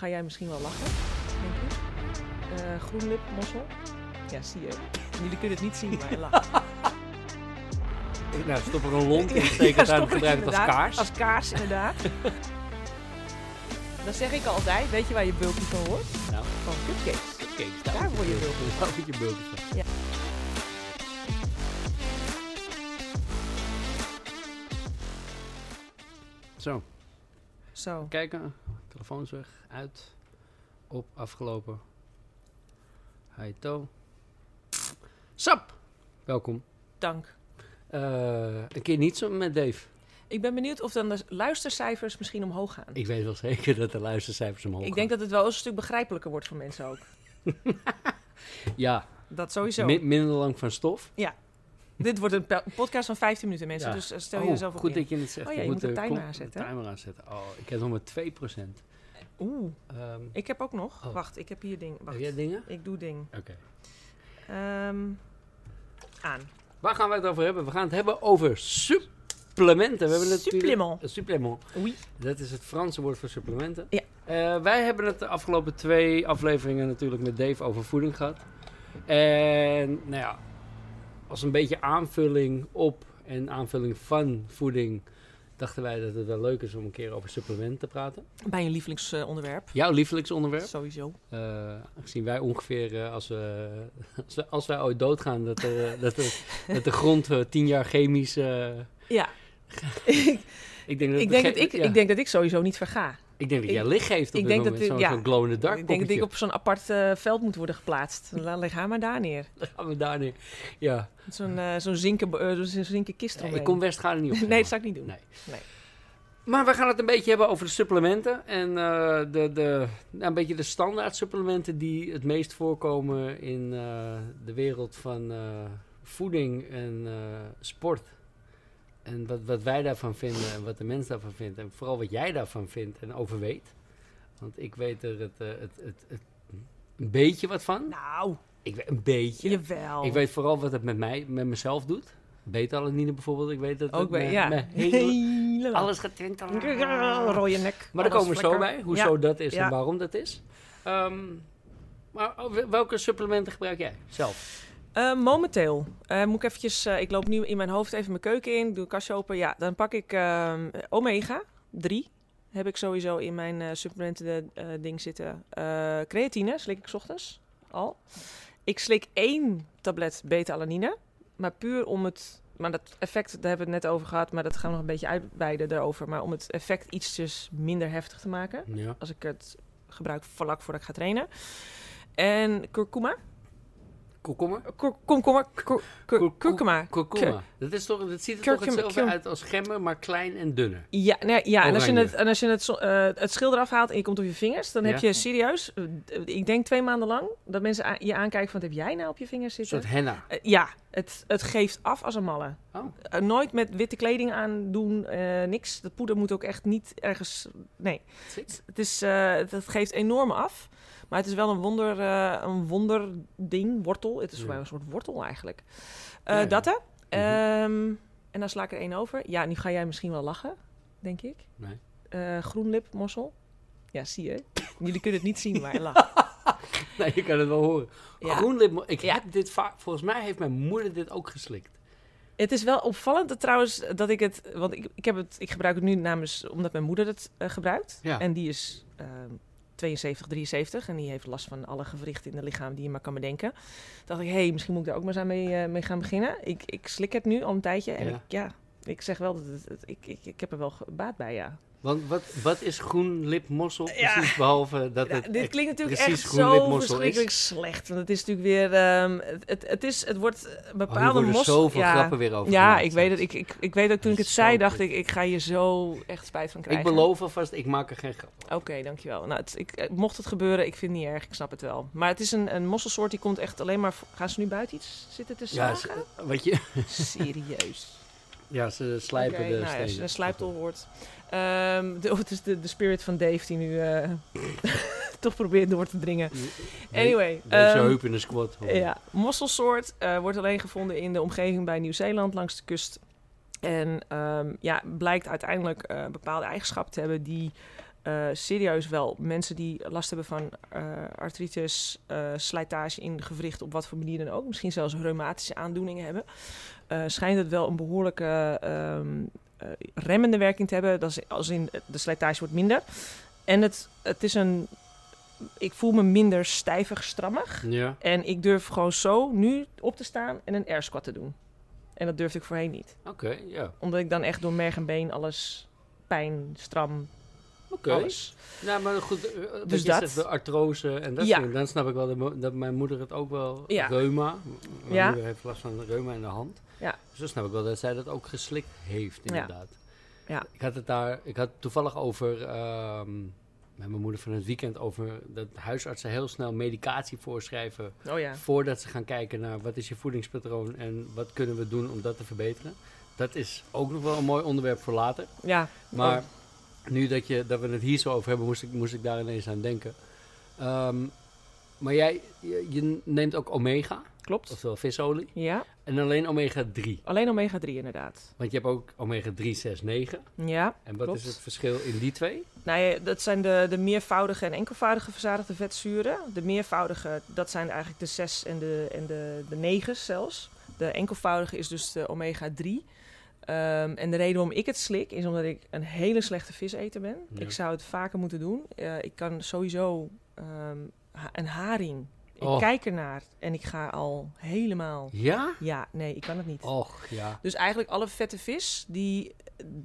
ga jij misschien wel lachen, denk ik. Eh groenlipmossel. Ja, zie je. Jullie kunnen het niet zien, maar hij lacht. Nou, stop er een lont in, steek het Ja, uit stop en het gebruik het als inderdaad. kaars. Als kaars, inderdaad. Dan zeg ik altijd, weet je waar je bulky van hoort? Nou, Van cupcakes. cupcakes, Daar word je bulkjes van. Daar word je bulkjes van. Zo, Zo, kijken. Telefoons weg, uit, op, afgelopen. Hi, to. Sap, welkom. dank. Eh, een keer niet zo met Dave. Ik ben benieuwd of dan de luistercijfers misschien omhoog gaan. Ik weet wel zeker dat de luistercijfers omhoog Ik denk dat het wel eens een stuk begrijpelijker wordt voor mensen ook. gaan. Ja, Dat sowieso. mi- minder lang van stof. Dit wordt een pe- podcast van 15 minuten, mensen. Ja. Dus eh, stel Oh, jezelf op Goed in. dat je het zegt. Oh ja, Ik je moet de eh, timer kom- aanzetten, de hè? timer aanzetten. Oh, ik heb nog maar 2%. Oeh, Ehm ik heb ook nog. Oh. Wacht, ik heb hier ding. heb Wacht, jij dingen? ik doe ding. Oké. Ehm, aan. Waar gaan we het over hebben? We gaan het hebben over supplementen. We hebben natuurlijk- Supplement. Een supplement. Oei. Dat is het Franse woord voor supplementen. Ja. Eh, wij hebben het de afgelopen twee afleveringen natuurlijk met Dave over voeding gehad. En nou ja, als een beetje aanvulling op en aanvulling van voeding dachten wij dat het wel leuk is om een keer over supplementen te praten. Bij een lievelingsonderwerp. Jouw lievelingsonderwerp? Sowieso. Eh, aangezien wij ongeveer, eh, als, we, als, we- als wij ooit doodgaan, dat, eh, dat, de, dat de grond eh, tien jaar chemisch... eh, Ja. ik, ik denk dat, ik, de denk dat ge- ik, ja, ik denk dat ik sowieso niet verga. ik denk dat jij ik- licht geeft ik op dit denk dat moment. dit- Zo'n ja. zo'n glow in the dark Ik denk dat ik poppetje. op zo'n apart eh, veld moet worden geplaatst. La- Leg haar maar daar neer. Gaan we daar neer. Ja, Met Zo'n eh, zo'n zinken, be- eh, zo'n zinken kist Nee, eromheen. ik kom Westgaarden niet op. Nee, dat zou ik niet doen. Nee. Nee. Maar we gaan het een beetje hebben over de supplementen. En eh, de, de, nou, een beetje de standaard supplementen die het meest voorkomen in eh, de wereld van eh, voeding en eh, sport. En wat, wat wij daarvan vinden en wat de mens daarvan vindt. En vooral wat jij daarvan vindt en over weet. Want ik weet er het, eh, het, het, het, een beetje wat van. Nou, Ik weet een beetje. jawel. Ik weet vooral wat het met mij, met mezelf doet. Beta-alanine bijvoorbeeld. Ik weet dat het Ook bij, me- ja. me hele- Helemaal. alles gaat tintelen. Rode nek. Maar alles daar komen we lekker. zo bij. Hoezo Ja. dat is Ja. en waarom dat is. Ehm, maar oh, wel- welke supplementen gebruik jij zelf? Eh, momenteel eh, moet ik eventjes... eh, ik loop nu in mijn hoofd even mijn keuken in. Doe een kastje open. Ja, dan pak ik ehm, omega 3. Heb ik sowieso in mijn eh, supplementen eh, ding zitten. Eh, creatine slik ik 's ochtends al. Ik slik één tablet beta-alanine. Maar puur om het... Maar dat effect, daar hebben we het net over gehad. Maar dat gaan we nog een beetje uitweiden daarover. Maar om het effect ietsjes minder heftig te maken. Ja. als ik het gebruik vlak voordat ik ga trainen. En kurkuma. Kurkuma? Kur- Komkommer. kur- kur- Kurku- Kurkuma. Kurkuma. Dat, is toch, dat ziet er toch Kurkuma, hetzelfde kurkuma. uit als gemmen, maar klein en dunner. Ja, nou ja, ja en als je, Oranje. het, en als je het, zo- eh, het schil eraf haalt en je komt op je vingers, dan heb Ja. je serieus, eh, ik denk twee maanden lang, dat mensen a- je aankijken van, wat heb jij nou op je vingers Een zitten? soort henna. Eh, ja, het, het geeft af als een malle. Oh. Eh, nooit met witte kleding aan doen, eh, niks. Dat poeder moet ook echt niet ergens, nee. Zit. Het is, eh, dat geeft enorm af. Maar het is wel een wonder, eh, een wonderding, wortel. Het is voor Ja. mij een soort wortel eigenlijk. Ja, Eh ja. Mhm. Dat hè. Ehm, en dan sla ik er één over. Ja, nu ga jij misschien wel lachen, denk ik. Nee. Eh groenlipmossel. Ja, zie je. Jullie kunnen het niet zien, maar hij lacht. Nee, je kan het wel horen. Ja. Groenlip, ik Ja. heb dit vaak, volgens mij heeft mijn moeder dit ook geslikt. Het is wel opvallend dat, trouwens dat ik het... Want ik, ik, heb het, ik gebruik het nu namens... Omdat mijn moeder het eh, gebruikt. Ja. En die is ehm 72, 73. En die heeft last van alle gewrichten in het lichaam die je maar kan bedenken. dacht ik, hé, hey, misschien moet ik daar ook maar eens aan mee, eh, mee gaan beginnen. Ik, ik slik het nu al een tijdje. En Ja. ik, ja, ik zeg wel dat het, het- ik, ik, ik heb er wel ge- baat bij, ja. Want wat, wat is groenlipmossel Ja. precies, behalve dat Ja, het... dit klinkt natuurlijk precies echt groen zo lipmossel is. verschrikkelijk slecht. Want het is natuurlijk weer... ehm, het, het, het, is, het wordt eh, Oh, hier bepaalde worden mos- zoveel ja. grappen weer over Ja, gemaakt. ik weet het. Ik, ik, ik weet ook toen ik het Zo zei, dacht goed. ik, ik ga je zo echt spijt van Ik krijgen. beloof alvast, ik maak er geen grap over. Oké, dankjewel. Nou, het, ik, eh, mocht het gebeuren, ik vind het niet erg, ik snap het wel. Maar het is een, een mosselsoort die komt echt alleen maar... v- Gaan ze nu buiten iets zitten te Ja, zagen? ze- wat je, Serieus. ja, ze slijpen Oké, de nou ja, stenen. als je een slijptol hoort. Ehm, de, oh, het is de, de spirit van Dave die nu eh, toch probeert door te dringen. Anyway. Deze ehm, heup in de squat. hoor. Ja, mosselsoort eh, wordt alleen gevonden in de omgeving bij Nieuw-Zeeland langs de kust. En ehm, ja, blijkt uiteindelijk eh, bepaalde eigenschappen te hebben die eh, serieus wel mensen die last hebben van eh, artritis, eh, slijtage in gewricht, op wat voor manier dan ook, misschien zelfs reumatische aandoeningen hebben, eh, schijnt het wel een behoorlijke ehm, eh, remmende werking te hebben. Dat is als in eh, de slijtage wordt minder. En het, het is een. Ik voel me minder stijvig, strammig. Ja. En ik durf gewoon zo nu op te staan en een air squat te doen. En dat durfde ik voorheen niet. Oké, ja. Omdat ik dan echt door merg en been alles pijn, stram, Oké. alles. Nou, maar goed, eh, wat Dus je dat. zegt, de artrose en dat Ja. soort dingen. Dan snap ik wel dat, mo- dat mijn moeder het ook wel... Ja. Reuma. Mijn Ja. moeder heeft last van reuma in de hand. Ja. Dus dan snap ik wel dat zij dat ook geslikt heeft, inderdaad. Ja. Ik had het daar... Ik had toevallig over... ehm, met mijn moeder van het weekend over dat huisartsen heel snel medicatie voorschrijven Oh ja. voordat ze gaan kijken naar wat is je voedingspatroon en wat kunnen we doen om dat te verbeteren. Dat is ook nog wel een mooi onderwerp voor later. Ja. Maar nu dat, je, dat we het hier zo over hebben, moest ik, moest ik daar ineens aan denken. Ehm, maar jij je, je neemt ook omega, Klopt. oftewel visolie, Ja. en alleen omega 3. Alleen omega 3 inderdaad. Want je hebt ook omega 3, 6, 9. Ja. En wat Klopt. is het verschil in die twee? Nou ja, dat zijn de, de meervoudige en enkelvoudige verzadigde vetzuren. De meervoudige, dat zijn eigenlijk de 6 en de, en de, de 9 zelfs. De enkelvoudige is dus de omega 3. Ehm, en de reden waarom ik het slik is omdat ik een hele slechte viseter ben. Ja. Ik zou het vaker moeten doen. Eh, ik kan sowieso ehm, ha- een haring. Ik Oh. kijk ernaar en ik ga al helemaal. Ja? Ja, nee, ik kan het niet. Och, ja. Dus eigenlijk alle vette vis, die,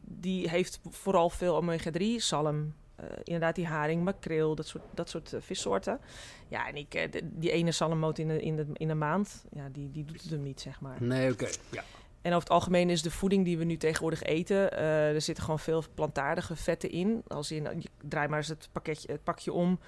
die heeft vooral veel omega-3, zalm, eh, inderdaad die haring, makreel, dat soort, dat soort eh, vissoorten. Ja, en ik, eh, de- die ene zalmmoot in de, in, de, in een maand, ja, die, die doet het hem niet, zeg maar. Nee, oké. Ja. En over het algemeen is de voeding die we nu tegenwoordig eten, eh, er zitten gewoon veel plantaardige vetten in. Als in, eh, je- draai maar eens het, pakketje, het pakje om.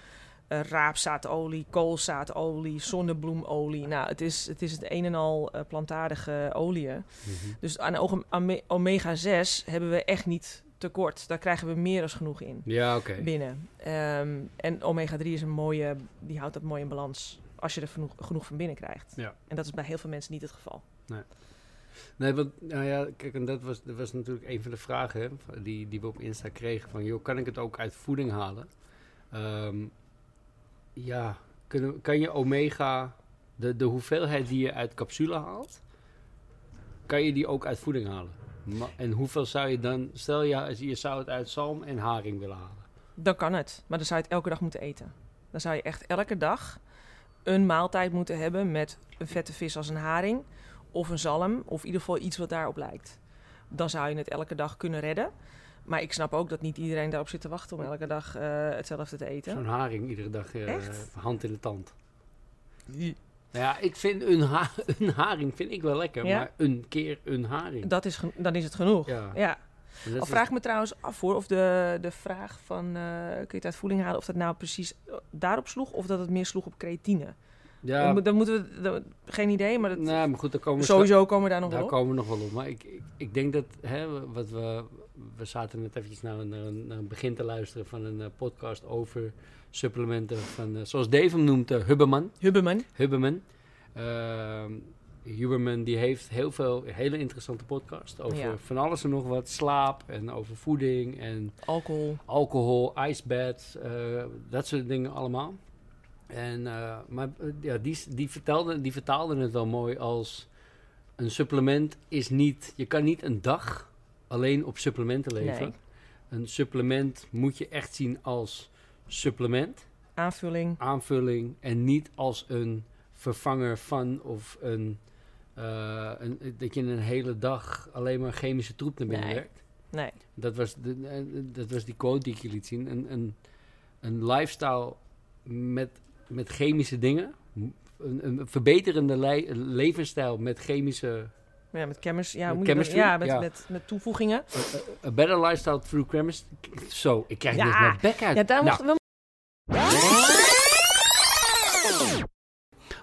Eh, raapzaadolie, koolzaadolie, zonnebloemolie. Nou, het is het, is het een en al eh, plantaardige olieën. Mhm. Dus aan ome- ome- omega 6 hebben we echt niet tekort. Daar krijgen we meer dan genoeg in Ja, oké. binnen. Ehm, en omega 3 is een mooie, die houdt dat mooi in balans. Als je er genoeg, genoeg van binnen krijgt. Ja. En dat is bij heel veel mensen niet het geval. Nee, want, nou ja, kijk, en dat was, dat was natuurlijk een van de vragen hè, van- die, die we op Insta kregen. Van, joh, kan ik het ook uit voeding halen? Ehm, ja, kunnen, kan je omega, de, de hoeveelheid die je uit capsule haalt, kan je die ook uit voeding halen? Ma- en hoeveel zou je dan, stel je, je zou het uit zalm en haring willen halen. Dan kan het. Maar dan zou je het elke dag moeten eten. Dan zou je echt elke dag een maaltijd moeten hebben met een vette vis als een haring. Of een zalm. Of in ieder geval iets wat daarop lijkt. Dan zou je het elke dag kunnen redden. Maar ik snap ook dat niet iedereen daarop zit te wachten om elke dag eh, hetzelfde te eten. Zo'n haring iedere dag, eh, Echt? hand in de tand. Nou ja, ik vind een, ha- een haring vind ik wel lekker, Ja? maar een keer een haring. Dat is, gen- dan is het genoeg. ja, Ja. en Dus dat Al is- vraag ik me trouwens af hoor, of de, de vraag van eh, kun je het uit voeding halen, of dat nou precies eh, daarop sloeg of dat het meer sloeg op creatine. Dan, ja, moet- dan moeten we, dan- geen idee, maar dat, Nou, maar goed, daar komen we Nou, sowieso komen we daar nog daar wel op. komen we nog wel op. Maar ik, ik, ik denk dat hè, wat we. We zaten net eventjes naar een, naar een, naar een begin te luisteren van een eh, podcast over supplementen. Van, eh, zoals Dave hem noemt, eh, Hubberman. Hubberman. Hubberman. Ehm, Huberman die heeft heel veel hele interessante podcasts over Ja. van alles en nog wat. Slaap en over voeding en Alcohol. alcohol, ijsbed, eh, dat soort dingen allemaal. En, eh, maar eh, ja, die, die, vertelde, die vertaalde het wel mooi als een supplement is niet... Je kan niet een dag alleen op supplementen leven. Nee. Een supplement moet je echt zien als supplement, Aanvulling. aanvulling en niet als een vervanger van of een, eh, een dat je een hele dag alleen maar chemische troep naar binnen Nee. werkt. Nee. Dat was, de, eh, dat was die quote die ik je liet zien. Een, een, een lifestyle met, met chemische dingen. Een, een verbeterende lei- levensstijl met chemische... Ja, met chemistry. Ja, Met moet je dat- chemistry? ja, met, Ja. Met, met toevoegingen. A, a- a better lifestyle through chemistry. Zo, ik krijg Ja. dus mijn bek uit. Ja, daar Nou, mochten we.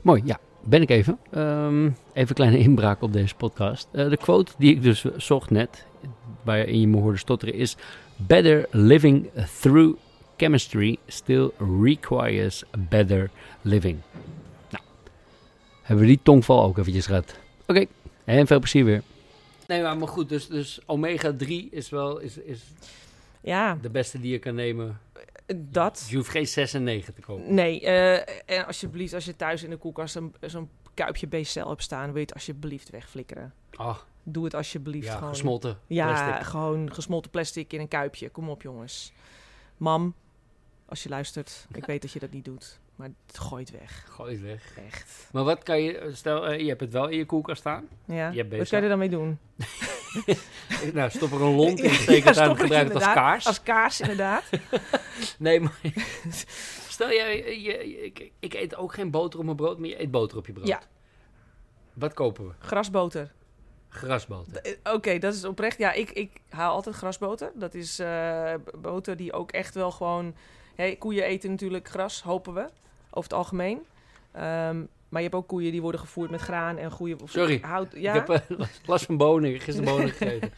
Mooi, ja. Ben ik even. Ehm, even een kleine inbraak op deze podcast. Eh, de quote die ik dus zocht net, waarin je me hoorde stotteren, is... Better living through chemistry still requires better living. Nou, hebben we die tongval ook eventjes gehad. Oké, en veel plezier weer. Nee, maar, maar goed, dus, dus omega-3 is wel... Is, is, Ja, De beste die je kan nemen. dat. Je hoeft geen 6 en 9 te kopen. Nee, eh, en alsjeblieft, als je thuis in de koelkast een- zo'n kuipje BCL hebt staan, wil je het alsjeblieft wegflikkeren. Ah, Doe het alsjeblieft ja, gewoon. gesmolten Ja, plastic. gewoon gesmolten plastic in een kuipje. Kom op, jongens. Mam, als je luistert, ik weet dat je dat niet doet, maar het gooit weg. Gooi het weg. Echt. Maar wat kan je... Stel, eh, je hebt het wel in je koelkast staan. Ja. Je hebt Wat BCL. kan je er dan mee doen? Eh, Nou, stop er een lont in, Ja, steek het aan stop en het gebruik het als inderdaad. kaars. Als kaars, inderdaad. Nee, maar... Stel, jij, je, je- ik, ik eet ook geen boter op mijn brood, maar je eet boter op je brood. Ja. Wat kopen we? Grasboter. Grasboter. Eh, Oké, dat is oprecht. Ja, ik, ik haal altijd grasboter. Dat is eh, b- boter die ook echt wel gewoon... Hey, koeien eten natuurlijk gras, hopen we. Over het algemeen. Ehm, maar je hebt ook koeien die worden gevoerd met graan en goede... of Sorry. Hout, ja? Ik heb eh, last van bonen, gisteren bonen gegeten.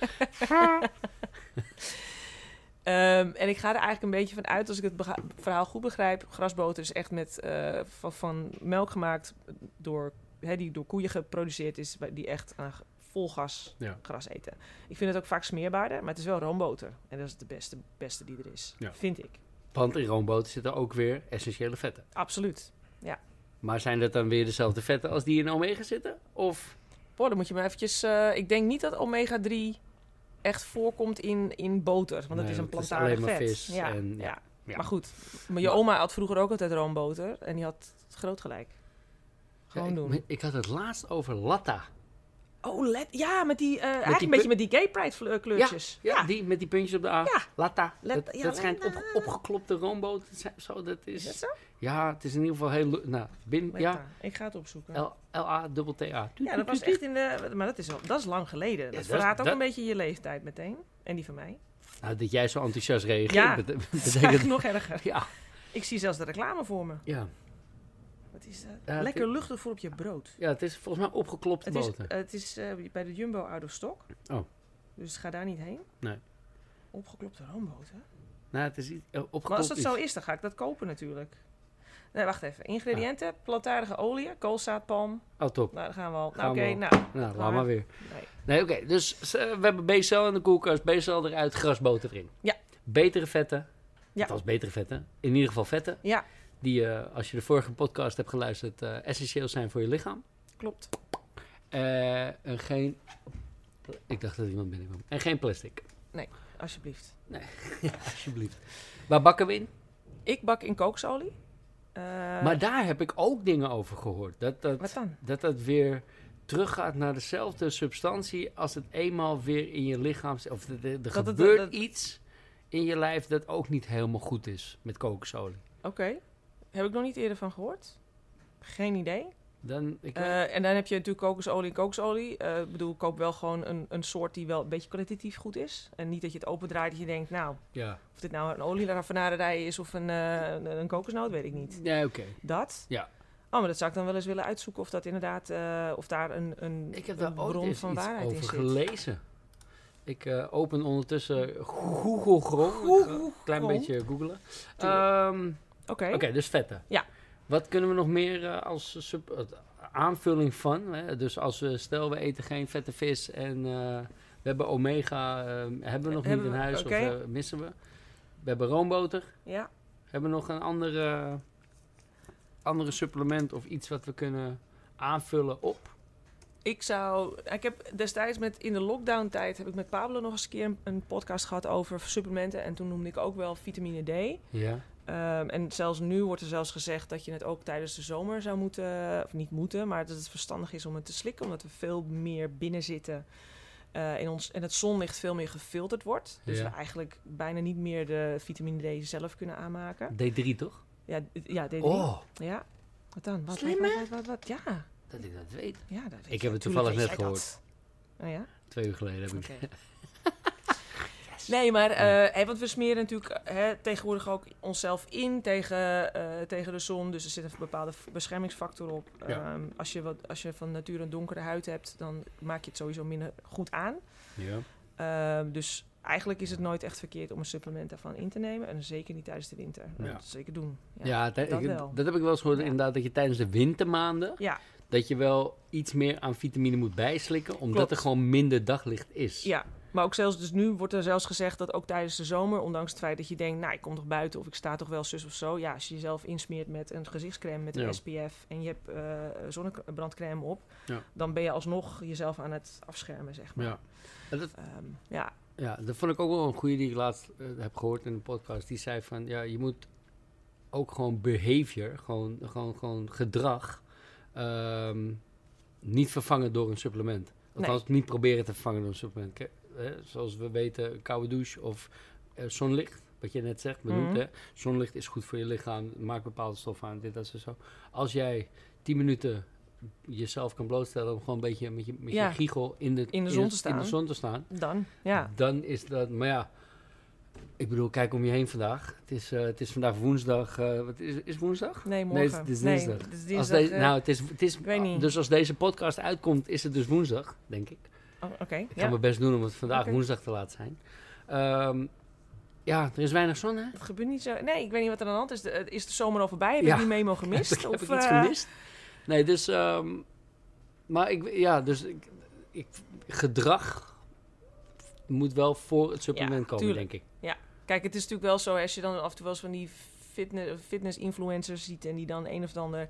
Ehm, en ik ga er eigenlijk een beetje van uit, als ik het bega- verhaal goed begrijp. Grasboter is echt met, eh, van, van melk gemaakt, door, hè, die door koeien geproduceerd is, wa- die echt aan g- vol gas Ja. gras eten. Ik vind het ook vaak smeerbaarder, maar het is wel roomboter. En dat is de beste, beste die er is, Ja. vind ik. Want in roomboter zitten ook weer essentiële vetten. Absoluut. Maar zijn dat dan weer dezelfde vetten als die in omega zitten? Of Boah, dan moet je maar eventjes... eh, ik denk niet dat omega-3 echt voorkomt in, in boter, want Nee, dat is een want het is plantaardig alleen maar vet. vis ja, en- ja. ja. Maar goed, maar je oma had vroeger ook altijd roomboter en die had groot gelijk. Gewoon Ja, ik- doen. Ik, had het laatst over latta. Oh, let, ja, met die, eh, eigenlijk die een beetje pu- met die gay pride vle- kleurtjes. Ja, die met die puntjes op de A. Ja. Latta. Let- dat ja, dat schijnt op, latta. opgeklopte roomboter te zijn. of Zo, dat is, Is dat zo? Ja, het is in ieder geval heel... lu- Nou, bin, Let ja, maar, Ik ga het opzoeken. L-A-T-T-A. ja, dat was echt in de... Maar dat is, al, dat is lang geleden. Dat dat is- verraadt ook dat- een beetje je leeftijd meteen. En die van mij. Nou, dat jij zo enthousiast reageert, Ja. bete- Dat is betekent... eigenlijk nog erger. Ja, Ik zie zelfs de reclame voor me. ja. Wat is dat? Ja, het Lekker luchtig voor op je brood. ja, het is volgens mij opgeklopte Het is, boter. het is eh, bij de Jumbo out of stock. Oh. Dus ga daar niet heen. Nee. Opgeklopte roomboter. nou, het is iets, eh, opgeklopt Maar als dat iets. zo is, dan ga ik dat kopen natuurlijk. Nee, wacht even. Ingrediënten, plantaardige olie, koolzaad, palm. Oh, top. Nou, daar gaan we al. Nou, Ah. Gaan oké, we al. nou. Nou, laat Klaar. maar weer. Nee. Nee, oké. Dus eh, we hebben BCL in de koelkast, BCL eruit, grasboter erin. Ja. Betere vetten. Ja. Ja. Dat was betere vetten. In ieder geval vetten. Ja, Die, eh, als je de vorige podcast hebt geluisterd, eh, essentieel zijn voor je lichaam. klopt. Eh, en geen... Ik dacht dat iemand binnenkwam. En geen plastic. Alsjeblieft. Alsjeblieft. Waar bakken we in? Ik bak in koksolie. Eh, maar daar heb ik ook dingen over gehoord. Dat dat, wat dan? dat dat weer teruggaat naar dezelfde substantie als het eenmaal weer in je lichaam... zit. Of er- er- er het- gebeurt dat- iets in je lijf dat ook niet helemaal goed is met kokosolie. Oké. Heb ik nog niet eerder van gehoord. Geen idee. Dan, ik weet- Eh, en dan heb je natuurlijk kokosolie en kokosolie. Eh, ik bedoel, koop wel gewoon een, een soort die wel een beetje kwalitatief goed is. En niet dat je het opendraait dat je denkt, nou, ja. of dit nou een olieraffinaderij is of een, eh, een, een kokosnoot, weet ik niet. Nee, oké. Dat? Ja. Oh, maar dat zou ik dan wel eens willen uitzoeken of dat inderdaad, eh, of daar een, een, Ik een heb daar ooit bron eens van iets waarheid in over zit. gelezen. Ik eh, open ondertussen Google Chrome. Ik ga Google een klein Chrome. beetje googelen. Tuurlijk. Ehm, Oké. Oké, dus vetten. Ja. Wat kunnen we nog meer eh, als sub- eh, aanvulling van? Hè? Dus als we, stel we eten geen vette vis en eh, we hebben omega, eh, hebben we nog Hebben niet in we- huis oké. of eh, missen we? We hebben roomboter. Ja. Hebben we nog een andere, andere supplement of iets wat we kunnen aanvullen op? Ik zou. Ik heb destijds met in de lockdown-tijd heb ik met Pablo nog eens een keer een, een podcast gehad over supplementen. En toen noemde ik ook wel vitamine D. Ja. Ehm, en zelfs nu wordt er zelfs gezegd dat je het ook tijdens de zomer zou moeten, of niet moeten, maar dat het verstandig is om het te slikken, omdat we veel meer binnen zitten. eh, in ons, en het zonlicht veel meer gefilterd wordt. Dus Ja. we eigenlijk bijna niet meer de vitamine D zelf kunnen aanmaken. D3 toch? Ja, d- ja D3. Oh, Ja. Wat dan? Wat, Slim, wat, wat, wat, wat? Ja. dat ik dat weet. ja dat weet Ik je. heb Tuurlijk het toevallig weet net jij gehoord. dat. Oh ja? Twee uur geleden heb ik Oké. Nee, maar eh, hè, want we smeren natuurlijk hè, tegenwoordig ook onszelf in tegen, eh, tegen de zon. Dus er zit een bepaalde v- beschermingsfactor op. Ja. Ehm, als, je wat, als je van nature een donkere huid hebt, dan maak je het sowieso minder goed aan. Ja. Ehm, dus eigenlijk is het nooit echt verkeerd om een supplement daarvan in te nemen. En zeker niet tijdens de winter. Ja. Dat zeker doen. Ja, dat, dat ik- wel. dat heb ik wel eens gehoord Ja. inderdaad, dat je tijdens de wintermaanden... Ja. dat je wel iets meer aan vitamine moet bijslikken... omdat Klopt. er gewoon minder daglicht is. Ja, Maar ook zelfs, dus nu wordt er zelfs gezegd dat ook tijdens de zomer, ondanks het feit dat je denkt, nou ik kom toch buiten of ik sta toch wel zus of zo. Ja, als je jezelf insmeert met een gezichtscreme met een Ja. SPF en je hebt eh, zonnebrandcreme op, Ja. dan ben je alsnog jezelf aan het afschermen, zeg maar. Ja. En dat, Ehm, ja. ja, dat vond ik ook wel een goede die ik laatst eh, heb gehoord in een podcast. Die zei van, ja, je moet ook gewoon behavior, gewoon, gewoon, gewoon gedrag, ehm, niet vervangen door een supplement. Althans, niet proberen te vervangen door een supplement. Kijk, hè, zoals we weten, een koude douche of eh, zonlicht. Wat je net zegt, benoemd, Mhm. hè? zonlicht is goed voor je lichaam, maakt bepaalde stoffen aan, dit, dat, zo, zo. Als jij 10 minuten jezelf kan blootstellen om gewoon een beetje met je, met Ja. je giegel in de, In de zon te In staan. de zon te staan Dan, ja. dan is dat. Maar ja, ik bedoel, kijk om je heen vandaag. Het is, eh, het is vandaag woensdag. eh, wat is, is woensdag? Nee, Nee, morgen. het is Nee, dinsdag. het is Als dinsdag, deze, eh, nou, het is, het is, weet niet. Dus als deze podcast uitkomt, is het dus woensdag, denk ik. oh, Oké, Ik ga ja. mijn best doen om het vandaag Oké. woensdag te laten zijn. Ehm, ja, er is weinig zon, hè? Het gebeurt niet zo. Nee, ik weet niet wat er aan de hand is. De- eh, is de zomer al voorbij? Heb Ja. ik die memo gemist? Heb ik- of, heb ik iets eh, gemist? Nee, dus... ehm, maar ik, ja, dus ik, ik, gedrag moet wel voor het supplement komen, tuurlijk. denk ik. Kijk, het is natuurlijk wel zo, als je dan af en toe wel eens van die fitness, influencers ziet en die dan een of ander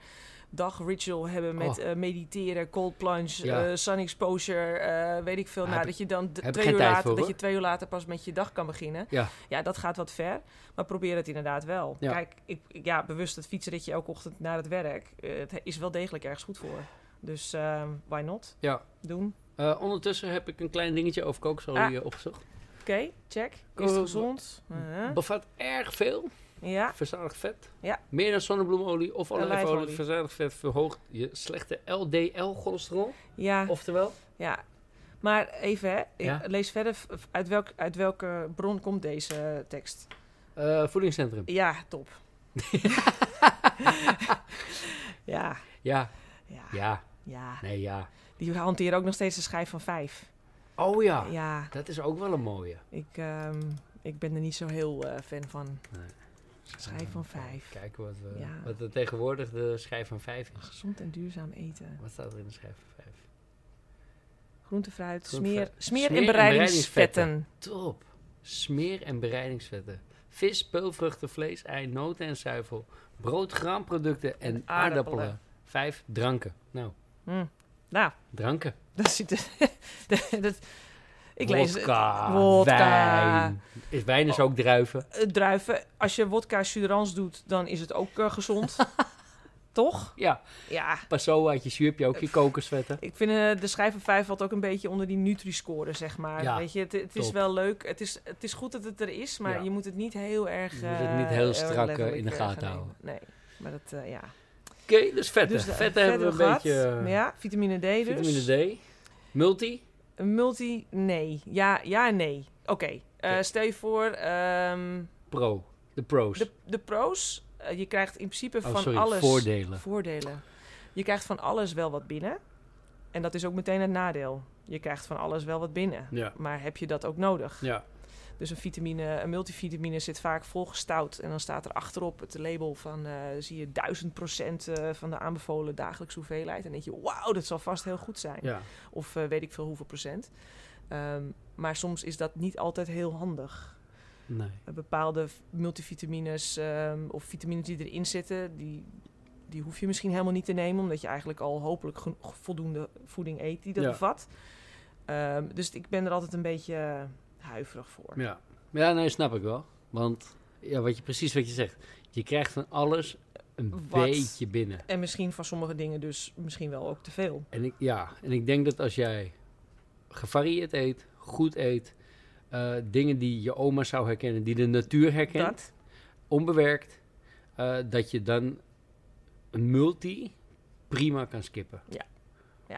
dagritual hebben met Oh. eh, mediteren, cold plunge, Ja. eh, sun exposure, eh, weet ik veel. Maar Nou, heb dat je dan d- heb ik twee geen uur tijd later, voor, dat hoor. je twee uur later pas met je dag kan beginnen. Ja. ja, dat gaat wat ver, maar probeer het inderdaad wel. Ja. Kijk, ik, ik- ja, bewust het fietsritje elke ochtend naar het werk, eh, het is wel degelijk ergens goed voor. Dus eh, why not? Ja. Doen. Eh, ondertussen heb ik een klein dingetje over kooksolie Ah. eh, opgezocht. Oké, check. Is het Eh, gezond? Uh-huh. Bevat erg veel Ja. verzadigd vet. Ja. Meer dan zonnebloemolie of olijfolie. Olijfolie. Verzadigd vet verhoogt je slechte LDL-cholesterol. ja. Oftewel, Ja, maar even, hè. Ik Ja? lees verder. v- v- Uit, welk, uit welke bron komt deze tekst? eh, voedingscentrum. Ja, top. ja, Ja, ja, ja, ja. nee, ja. Die hanteren ook nog steeds een schijf van vijf. Oh ja, Ja, dat is ook wel een mooie. ik, ehm, ik ben er niet zo heel eh, fan van. Nee. Schijf van vijf. Kijken wat, we, Ja. wat er tegenwoordig de schijf van vijf is. Gezond en duurzaam eten. Wat staat er in de schijf van vijf? Groente, fruit, Groente, smeer, fruit. smeer, Smeer- en en bereidingsvetten. Top. Smeer- en bereidingsvetten. Vis, peulvruchten, vlees, ei, noten en zuivel. Brood, graanproducten en En aardappelen. aardappelen. Vijf, dranken. Nou, Hm. Nou, dranken. dat zit er- dat, ik lees het. Wodka, Wodka. wijn. Is, wijn is ook druiven. Eh, druiven. Als je wodka suderans doet, dan is het ook eh, gezond. Toch? Ja, Eh, Ja. passo uit je zuurpje ook je kokosvetten. Ik vind eh, de schijf van vijf valt ook een beetje onder die Nutri-score, zeg maar. Ja, Weet je, het, het is top. wel leuk. Het is, het is goed dat het er is, maar Ja. je moet het niet heel erg... Je moet het eh, niet heel eh, strak, eh, in de letterlijk, eh, gaten gaan nemen. houden. Nee, maar dat, eh, ja. Oké, dus vetten. de- vetten hebben we een gehad. beetje eh, Ja, vitamine D dus. vitamine D. Multi. Een multi, nee. Ja, ja en nee. Oké. Eh, Oké. Stel je voor, ehm, Pro. De pros. de, de pro's. eh, je krijgt in principe oh, van sorry. alles... Voordelen. Voordelen. Je krijgt van alles wel wat binnen. En dat is ook meteen het nadeel. Je krijgt van alles wel wat binnen. Ja. Maar heb je dat ook nodig? Ja. Dus een vitamine, een multivitamine zit vaak volgestout. En dan staat er achterop het label van, eh, zie je, 1000 procent eh, van de aanbevolen dagelijkse hoeveelheid. En denk je, wauw, dat zal vast heel goed zijn. Ja. Of eh, weet ik veel hoeveel procent. Ehm, maar soms is dat niet altijd heel handig. Nee. Eh, bepaalde v- multivitamines ehm, of vitamines die erin zitten, die, die hoef je misschien helemaal niet te nemen, omdat je eigenlijk al hopelijk geno- voldoende voeding eet die dat Ja. bevat. Ehm, dus ik ben er altijd een beetje eh, huiverig voor. Ja. ja, nee, snap ik wel. Want ja, wat je, precies wat je zegt. Je krijgt van alles een Wat? beetje binnen. En misschien van sommige dingen dus misschien wel ook te veel. En ik, ja, en ik denk dat als jij gevarieerd eet, goed eet, eh, dingen die je oma zou herkennen, die de natuur herkent, Dat, onbewerkt, eh, dat je dan een multi prima kan skippen. ja,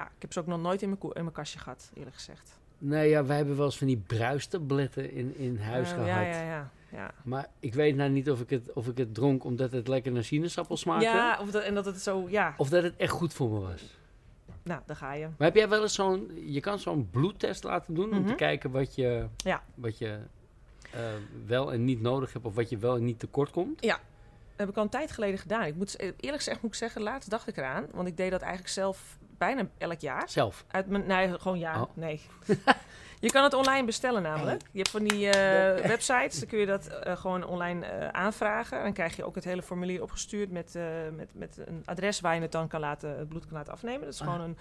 ik heb ze ook nog nooit in mijn, koe- in mijn kastje gehad, eerlijk gezegd. Nou ja, wij hebben wel eens van die bruistabletten in, in huis Eh, gehad. ja, ja, ja. ja. Maar ik weet nou niet of ik het, of ik het dronk omdat het lekker naar sinaasappel smaakte. Ja, of dat, en dat het zo, ja. Of dat het echt goed voor me was. Nou, daar ga je. Maar heb jij wel eens zo'n... Je kan zo'n bloedtest laten doen om te Mhm. kijken wat je, Ja. wat je eh, wel en niet nodig hebt... of wat je wel en niet tekort komt. Dat heb ik al een tijd geleden gedaan. Ik moet, eerlijk gezegd moet ik zeggen, laatst dacht ik eraan. Want ik deed dat eigenlijk zelf bijna elk jaar. Zelf. Uit mijn, nee, gewoon ja. Oh. Nee. je kan het online bestellen namelijk. Je hebt van die eh, websites, dan kun je dat eh, gewoon online eh, aanvragen. Dan krijg je ook het hele formulier opgestuurd met, eh, met, met een adres waar je het dan kan laten, het bloed kan laten afnemen. Dat is Ah. gewoon een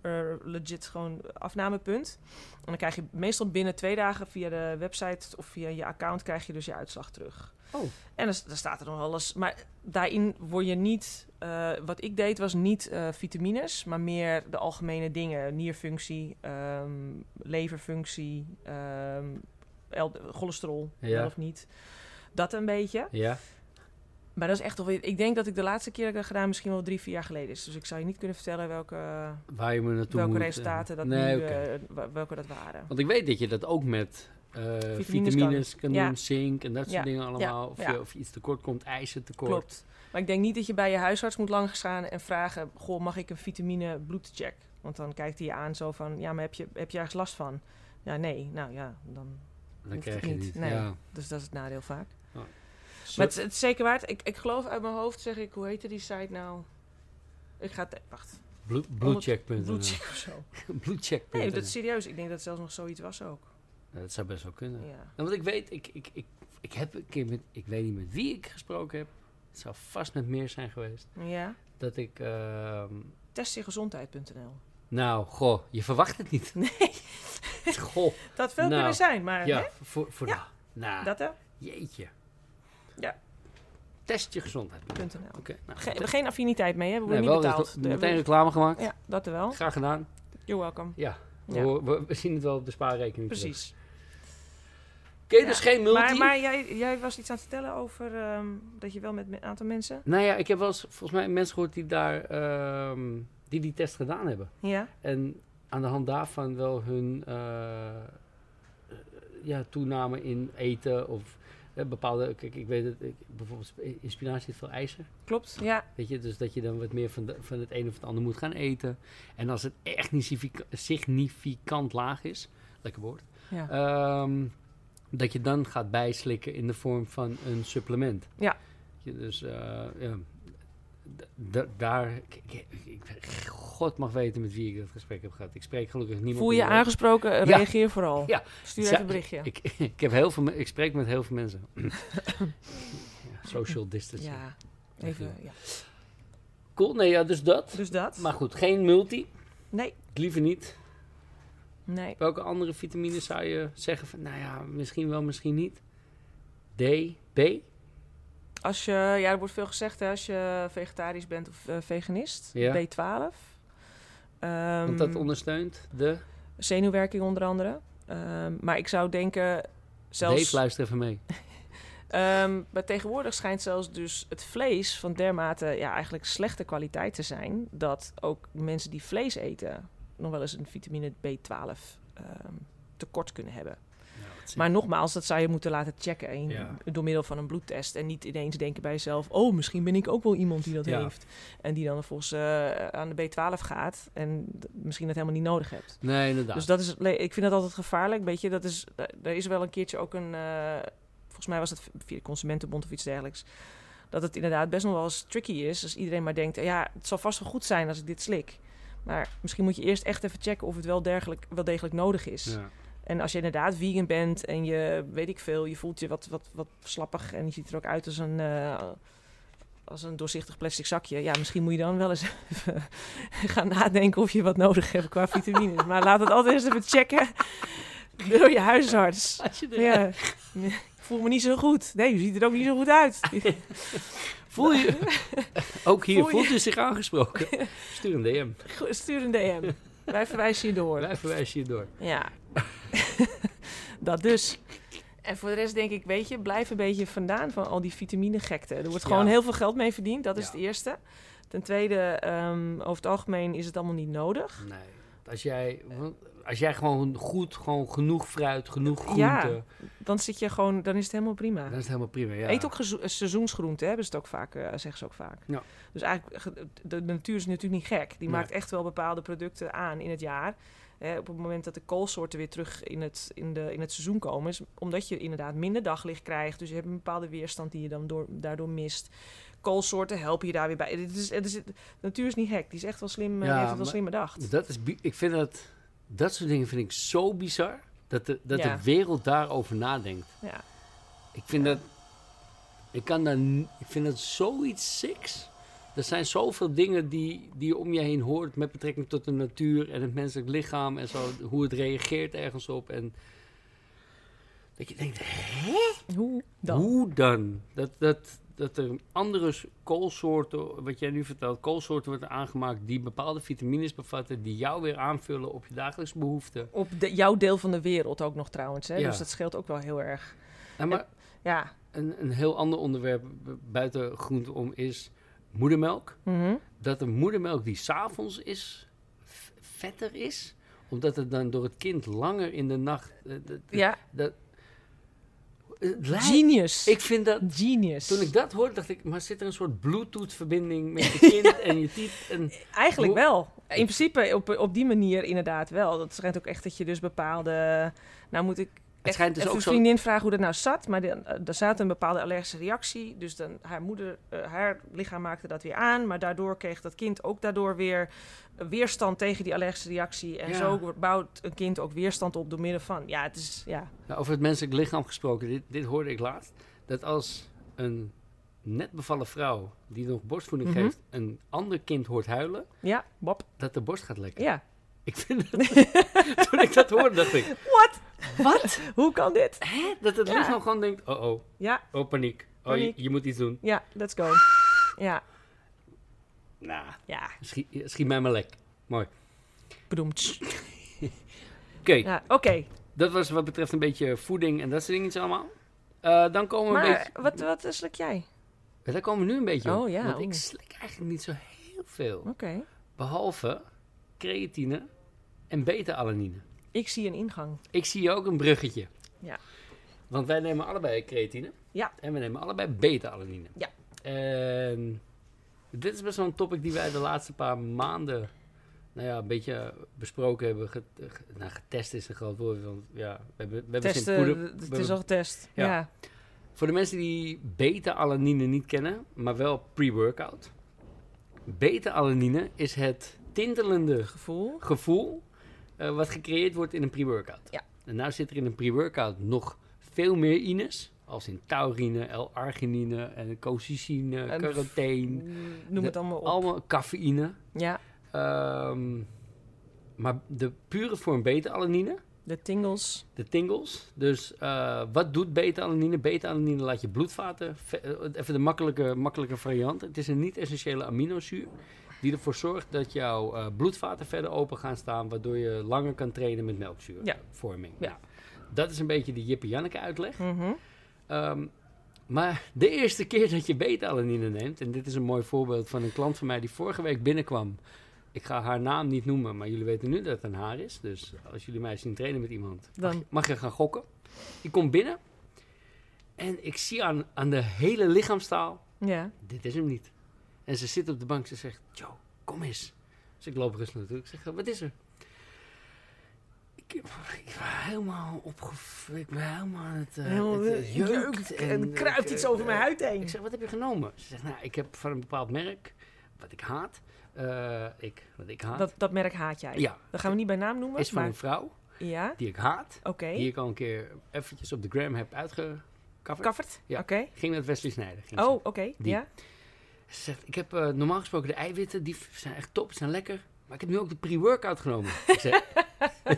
eh, legit gewoon afnamepunt. En dan krijg je meestal binnen twee dagen via de website of via je account krijg je dus je uitslag terug. Oh. En dan, s- dan staat er nog alles. Maar daarin word je niet. eh, wat ik deed was niet eh, vitamines, maar meer de algemene dingen: nierfunctie, ehm, leverfunctie, ehm, L- cholesterol, Ja. wel of niet. Dat een beetje. Ja. Maar dat is echt alweer. Ik denk dat ik de laatste keer dat ik dat gedaan misschien wel drie, vier jaar geleden is. Dus ik zou je niet kunnen vertellen welke, Waar je me naartoe welke moet, eh. resultaten dat nee, nu, oké. eh, wa- welke dat waren. Want ik weet dat je dat ook met eh, vitamines, kan, Ja. doen, zink en dat soort Ja. dingen allemaal. Of, Ja. Je, of je iets tekort komt, ijzer tekort. Klopt. Maar ik denk niet dat je bij je huisarts moet langs gaan en vragen: Goh, mag ik een vitamine bloedcheck? Want dan kijkt hij je aan zo van: Ja, maar heb je, heb je ergens last van? Ja, nee. Nou ja, dan. Dan Hoeft krijg het je niet. niet. Nee. Ja. Dus dat is het nadeel vaak. Zo- Maar het, is- het is zeker waard. Ik, ik geloof uit mijn hoofd zeg ik: Hoe heette die site nou? Ik ga het. Wacht. Blue- Bluecheck.nl. Bloedcheck of zo. Bluecheck.nl. Nee, dat is serieus. Ik denk dat het zelfs nog zoiets was ook. Ja, dat zou best wel kunnen. Ja. Nou, want ik weet, ik, ik, ik, ik heb een keer met, ik weet niet met wie ik gesproken heb. Het zou vast met meer zijn geweest. ja. Dat ik, ehm, Testjegezondheid.nl. nou, goh, je verwacht het niet. Nee, Goh, dat veel Nou, kunnen zijn, maar ja, voor, voor Ja. de- nou, hè? dat hè? jeetje. Ja. Test je gezondheid. Oké, Punt .nl. nou. Ge- geen affiniteit mee, hè? We Nee, worden wel niet betaald. recla- De- meteen reclame gemaakt. Ja, dat er wel. Graag gedaan. You're welcome. We, Ja. horen- we- we zien het wel op de spaarrekening. terug. Precies. Oké, dus geen multi. Maar, maar jij, jij was iets aan het vertellen over ehm, dat je wel met een aantal mensen. Nou ja, ik heb wel eens volgens mij mensen gehoord die daar, ehm, die die test gedaan hebben. Ja. En aan de hand daarvan wel hun eh, ja, toename in eten of eh, bepaalde. Kijk, ik weet het, ik, bijvoorbeeld sp- in spinazie zit veel ijzer. Klopt. Ja. Weet je, dus dat je dan wat meer van, de- van het een of het ander moet gaan eten. En als het echt niet significa- significant laag is, lekker woord, Ja. ehm, dat je dan gaat bijslikken in de vorm van een supplement. Ja. Je, dus eh, ja, d- d- daar, ik, ik, ik- God mag weten met wie ik dat gesprek heb gehad. Ik spreek gelukkig niemand. Voel je meer. aangesproken? Ja. Reageer vooral. Ja. Stuur Ja. even een berichtje. Ik, ik, heb heel veel, me- ik spreek met heel veel mensen. Ja, social distancing. Ja. Even, ja. Cool, nee, ja, dus dat. Dus dat? Maar goed, geen multi. Nee. Het Liever niet. Nee. Welke andere vitamines zou je zeggen van, nou ja, misschien wel, misschien niet? D, B? Als je, ja, er wordt veel gezegd hè, als je vegetarisch bent of eh, veganist. Ja. B12. Ehm, Want dat ondersteunt de... zenuwwerking onder andere. Ehm, maar ik zou denken, zelfs Dave, luister even mee. Ehm, maar tegenwoordig schijnt zelfs dus het vlees van dermate ja, eigenlijk slechte kwaliteit te zijn... dat ook mensen die vlees eten nog wel eens een vitamine B12 ehm, tekort kunnen hebben. Maar nogmaals, dat zou je moeten laten checken in- Ja. door middel van een bloedtest. En niet ineens denken bij jezelf... oh, misschien ben ik ook wel iemand die dat Ja. heeft. En die dan volgens eh aan de B12 gaat en d- misschien dat helemaal niet nodig hebt. Nee, inderdaad. Dus dat is, le- ik vind dat altijd gevaarlijk. Weet je, dat is, da- er is wel een keertje ook een. eh, volgens mij was dat via de Consumentenbond of iets dergelijks. Dat het inderdaad best nog wel eens tricky is. Als iedereen maar denkt: ja, het zal vast wel goed zijn als ik dit slik. Maar misschien moet je eerst echt even checken of het wel, dergelijk, wel degelijk nodig is. Ja. En als je inderdaad vegan bent en je weet ik veel, je voelt je wat, wat, wat slappig en je ziet er ook uit als een, eh, als een doorzichtig plastic zakje. Ja, misschien moet je dan wel eens even gaan nadenken of je wat nodig hebt qua vitamines. maar laat het altijd eerst even checken door je huisarts. Als je er- Ja. Ik voel me niet zo goed. Nee, u ziet er ook niet zo goed uit. Voel je... Ook hier Voel je- voelt u zich aangesproken. Stuur een DM. Goed, Stuur een DM. Wij verwijzen je door. Wij verwijzen je door. Ja. dat dus. En voor de rest denk ik, weet je, blijf een beetje vandaan van al die vitamine-gekte. Er wordt Ja. gewoon heel veel geld mee verdiend, dat is Ja. het eerste. Ten tweede, ehm, over het algemeen is het allemaal niet nodig. Nee. Als jij, want Als jij gewoon goed, gewoon genoeg fruit, genoeg groente, Ja. Dan zit je gewoon, dan is het helemaal prima. dan is het helemaal prima. Ja. Eet ook gezo- eh, seizoensgroenten, hè, hebben ze het ook vaak, eh, zeggen ze ook vaak. Ja. Dus eigenlijk, ge- de, de natuur is natuurlijk niet gek. Die Nee. maakt echt wel bepaalde producten aan in het jaar. Hè, op het moment dat de koolsoorten weer terug in het, in de, in het seizoen komen, is omdat je inderdaad minder daglicht krijgt. Dus je hebt een bepaalde weerstand die je dan door, daardoor mist. Koolsoorten helpen je daar weer bij. Het is, het is, de natuur is niet gek. Die is echt wel slim, eh, die Ja, heeft het wel maar- slim bedacht. Dat is, bi- ik vind dat, dat soort dingen vind ik zo bizar. Dat de, dat Ja. de wereld daarover nadenkt. Ja. Ik vind dat, ik kan daar, n- ik vind dat zoiets siks. Er zijn zoveel dingen die, die je om je heen hoort met betrekking tot de natuur en het menselijk lichaam en zo. Hoe het reageert ergens op. En dat je denkt, Hoe dan? Hoe dan? Dat, dat, dat er andere s- koolsoorten, wat jij nu vertelt, koolsoorten worden aangemaakt die bepaalde vitamines bevatten, die jou weer aanvullen op je dagelijkse behoeften. Op de- jouw deel van de wereld ook nog trouwens. Hè? Ja. Dus dat scheelt ook wel heel erg. En maar Ja. een, een heel ander onderwerp bu- buiten groente om is moedermelk. Mhm. Dat de moedermelk die s'avonds is, v- vetter is, omdat het dan door het kind langer in de nacht. eh, dat- ja. dat- het lijkt- Genius. ik vind dat Genius. Toen ik dat hoorde, dacht ik, maar zit er een soort Bluetooth-verbinding met je kind en je tiet? En, Eigenlijk Hoe- wel. In principe op, op die manier inderdaad wel. Dat schijnt ook echt dat je dus bepaalde... Nou moet ik echt schijnt dus even ook een zo- vriendin vragen hoe dat nou zat. Maar dan, eh, er zat een bepaalde allergische reactie. Dus dan, haar moeder, eh, haar lichaam maakte dat weer aan. Maar daardoor kreeg dat kind ook daardoor weer weerstand tegen die allergische reactie. En Ja. zo wordt- bouwt een kind ook weerstand op door middel van... Ja, het is... Ja, nou, over het menselijk lichaam gesproken, dit, dit hoorde ik laatst. Dat als een net bevallen vrouw die nog borstvoeding Mhm. geeft, een ander kind hoort huilen, ja Bob. dat de borst gaat lekken. Ja. Ik vind dat, toen ik dat hoorde, dacht ik, Wat? hoe kan dit? hè? Dat het Ja. lichaam gewoon denkt, oh oh, Ja, oh paniek. Oh, je, Paniek. je moet iets doen. ja, let's go. Ja, Nou, ja. schiet, schiet mij maar lek. Mooi. Bedoemd. Oké, Ja, oké. dat was wat betreft een beetje voeding en dat soort dingetjes allemaal. Eh, dan komen we een beetje... Maar wat, wat slik jij? Ja, daar komen we nu een beetje op. Oh, ja, want oeh. ik slik eigenlijk niet zo heel veel. Oké. Behalve creatine en beta-alanine. Ik zie een ingang. Ik zie ook een bruggetje. Ja. Want wij nemen allebei creatine. Ja. En we nemen allebei beta-alanine. Ja. En dit is best wel een topic die wij de laatste paar maanden... Nou ja, een beetje besproken hebben. Get- ge- nou, getest is een groot woord. Want ja, we hebben, we hebben sinds Testen, poeder- d- we eh, het is hebben- al getest. Ja. Ja. Voor de mensen die beta-alanine niet kennen, maar wel pre-workout. Beta-alanine is het tintelende Gevoel. gevoel eh, wat gecreëerd wordt in een pre-workout. Ja. En nou zit er in een pre-workout nog veel meer ines, als in taurine, L-arginine en colchicine, En carotene, Noem de- het allemaal op. allemaal cafeïne. Ja, Ehm, maar de pure vorm beta-alanine de tingles. de tingles. Dus eh, wat doet beta-alanine? Beta-alanine laat je bloedvaten. ve- eh, Even de makkelijke, makkelijke variant. Het is een niet-essentiële aminozuur. Die ervoor zorgt dat jouw eh, bloedvaten verder open gaan staan. Waardoor je langer kan trainen met Ja. melkzuurvorming. Ja. Nou, dat is een beetje de Jippe Janneke uitleg. Mhm. Ehm, maar de eerste keer dat je beta-alanine neemt, en dit is een mooi voorbeeld van een klant van mij die vorige week binnenkwam. Ik ga haar naam niet noemen, maar jullie weten nu dat het een haar is. Dus als jullie mij zien trainen met iemand, mag, Dan. je- mag je gaan gokken. Ik kom binnen en ik zie aan, aan de hele lichaamstaal, Ja. dit is hem niet. En ze zit op de bank, ze zegt, Jo, kom eens. Dus ik loop rustig naartoe, ik zeg, wat is er? Ik, ik ben helemaal opgev... Ik ben helemaal aan het... eh, Helemaal het, eh, eh, jeukt en er kruipt ik, iets eh, over mijn eh, huid heen. ik zeg, wat heb je genomen? Ze zegt, nou, ik heb van een bepaald merk, wat ik haat. eh, ik, wat ik haat. Dat, dat merk haat jij. ja, Dat gaan we niet bij naam noemen. is van maar, een vrouw Ja, die ik haat. oké. Die ik al een keer eventjes op de gram heb uitgecoverd. Kaffert. Ja. Oké. Ging met Wesley Snijder. ging Oh, ze. oké. Die. Ja. Ze zegt, ik heb eh, normaal gesproken de eiwitten, die v- zijn echt top, zijn lekker. Maar ik heb nu ook de pre-workout genomen. ik zeg,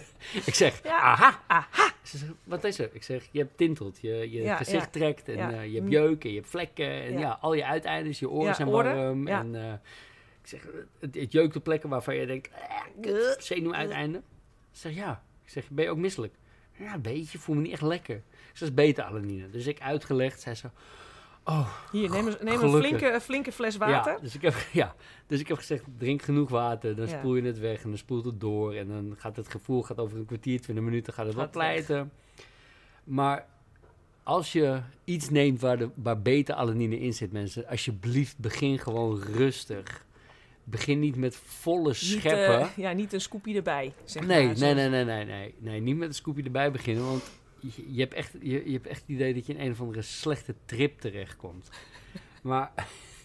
ik zeg Ja. Ah. aha. aha. Ze zegt, wat is er? Ik zeg, je hebt tintelt, je, je Ja, gezicht ja. trekt en Ja. eh, je hebt Mm. jeuk en je hebt vlekken. En ja, Ja. al je uiteindes, je oren Ja, zijn oren, warm. ja. En, eh, ik zeg, het, het jeukt op plekken waarvan je denkt, eh, zenuwuiteinde. Ze zegt, ja. Ik zeg, ben je ook misselijk? Ja, een beetje, voel me niet echt lekker. Ze is beta-alanine. Dus ik uitgelegd, zei ze, Oh, Hier, neem, eens- neem een gelukkig. flinke, flinke fles Ja, water. dus ik, heb, ja, dus ik heb gezegd, drink genoeg water. Dan Ja. spoel je het weg en dan spoelt het door. En dan gaat het gevoel gaat over een kwartier, twintig minuten gaat het Gaat wat het weg. pleiten. Maar als je iets neemt waar, de, waar beta-alanine in zit, mensen... alsjeblieft, begin gewoon rustig. Begin niet met volle Niet, scheppen. eh, ja, niet een scoopje erbij. Zeg Nee, maar, nee, nee, nee, nee, nee, nee. Niet met een scoopje erbij beginnen, want je, je hebt echt, je, je hebt echt het idee dat je in een of andere slechte trip terechtkomt. Maar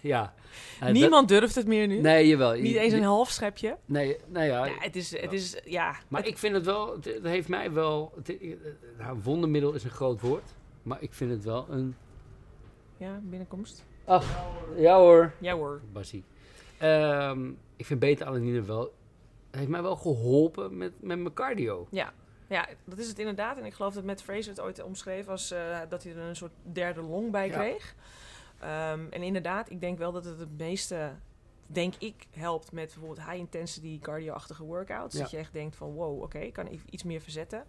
ja. eh, dat- Niemand durft het meer nu. nee, jawel. Je- Niet eens een half schepje. Nee, nou ja. Ja, het is, het is, ja. Maar ik vind het wel, het, het heeft mij wel, het, eh, nou, wondermiddel is een groot woord, maar ik vind het wel een... Ja, binnenkomst. Ach, ja hoor. Ja hoor. Bassie. Ehm, ik vind beta-alanine wel, heeft mij wel geholpen met, met mijn cardio. Ja, dat is het inderdaad. En ik geloof dat Matt Fraser het ooit omschreef als eh, dat hij er een soort derde long bij Ja. kreeg. Ehm, en inderdaad, ik denk wel dat het het meeste, denk ik, helpt met bijvoorbeeld high intensity cardio-achtige workouts. Ja. Dat je echt denkt van wow, oké, ik kan even iets meer verzetten.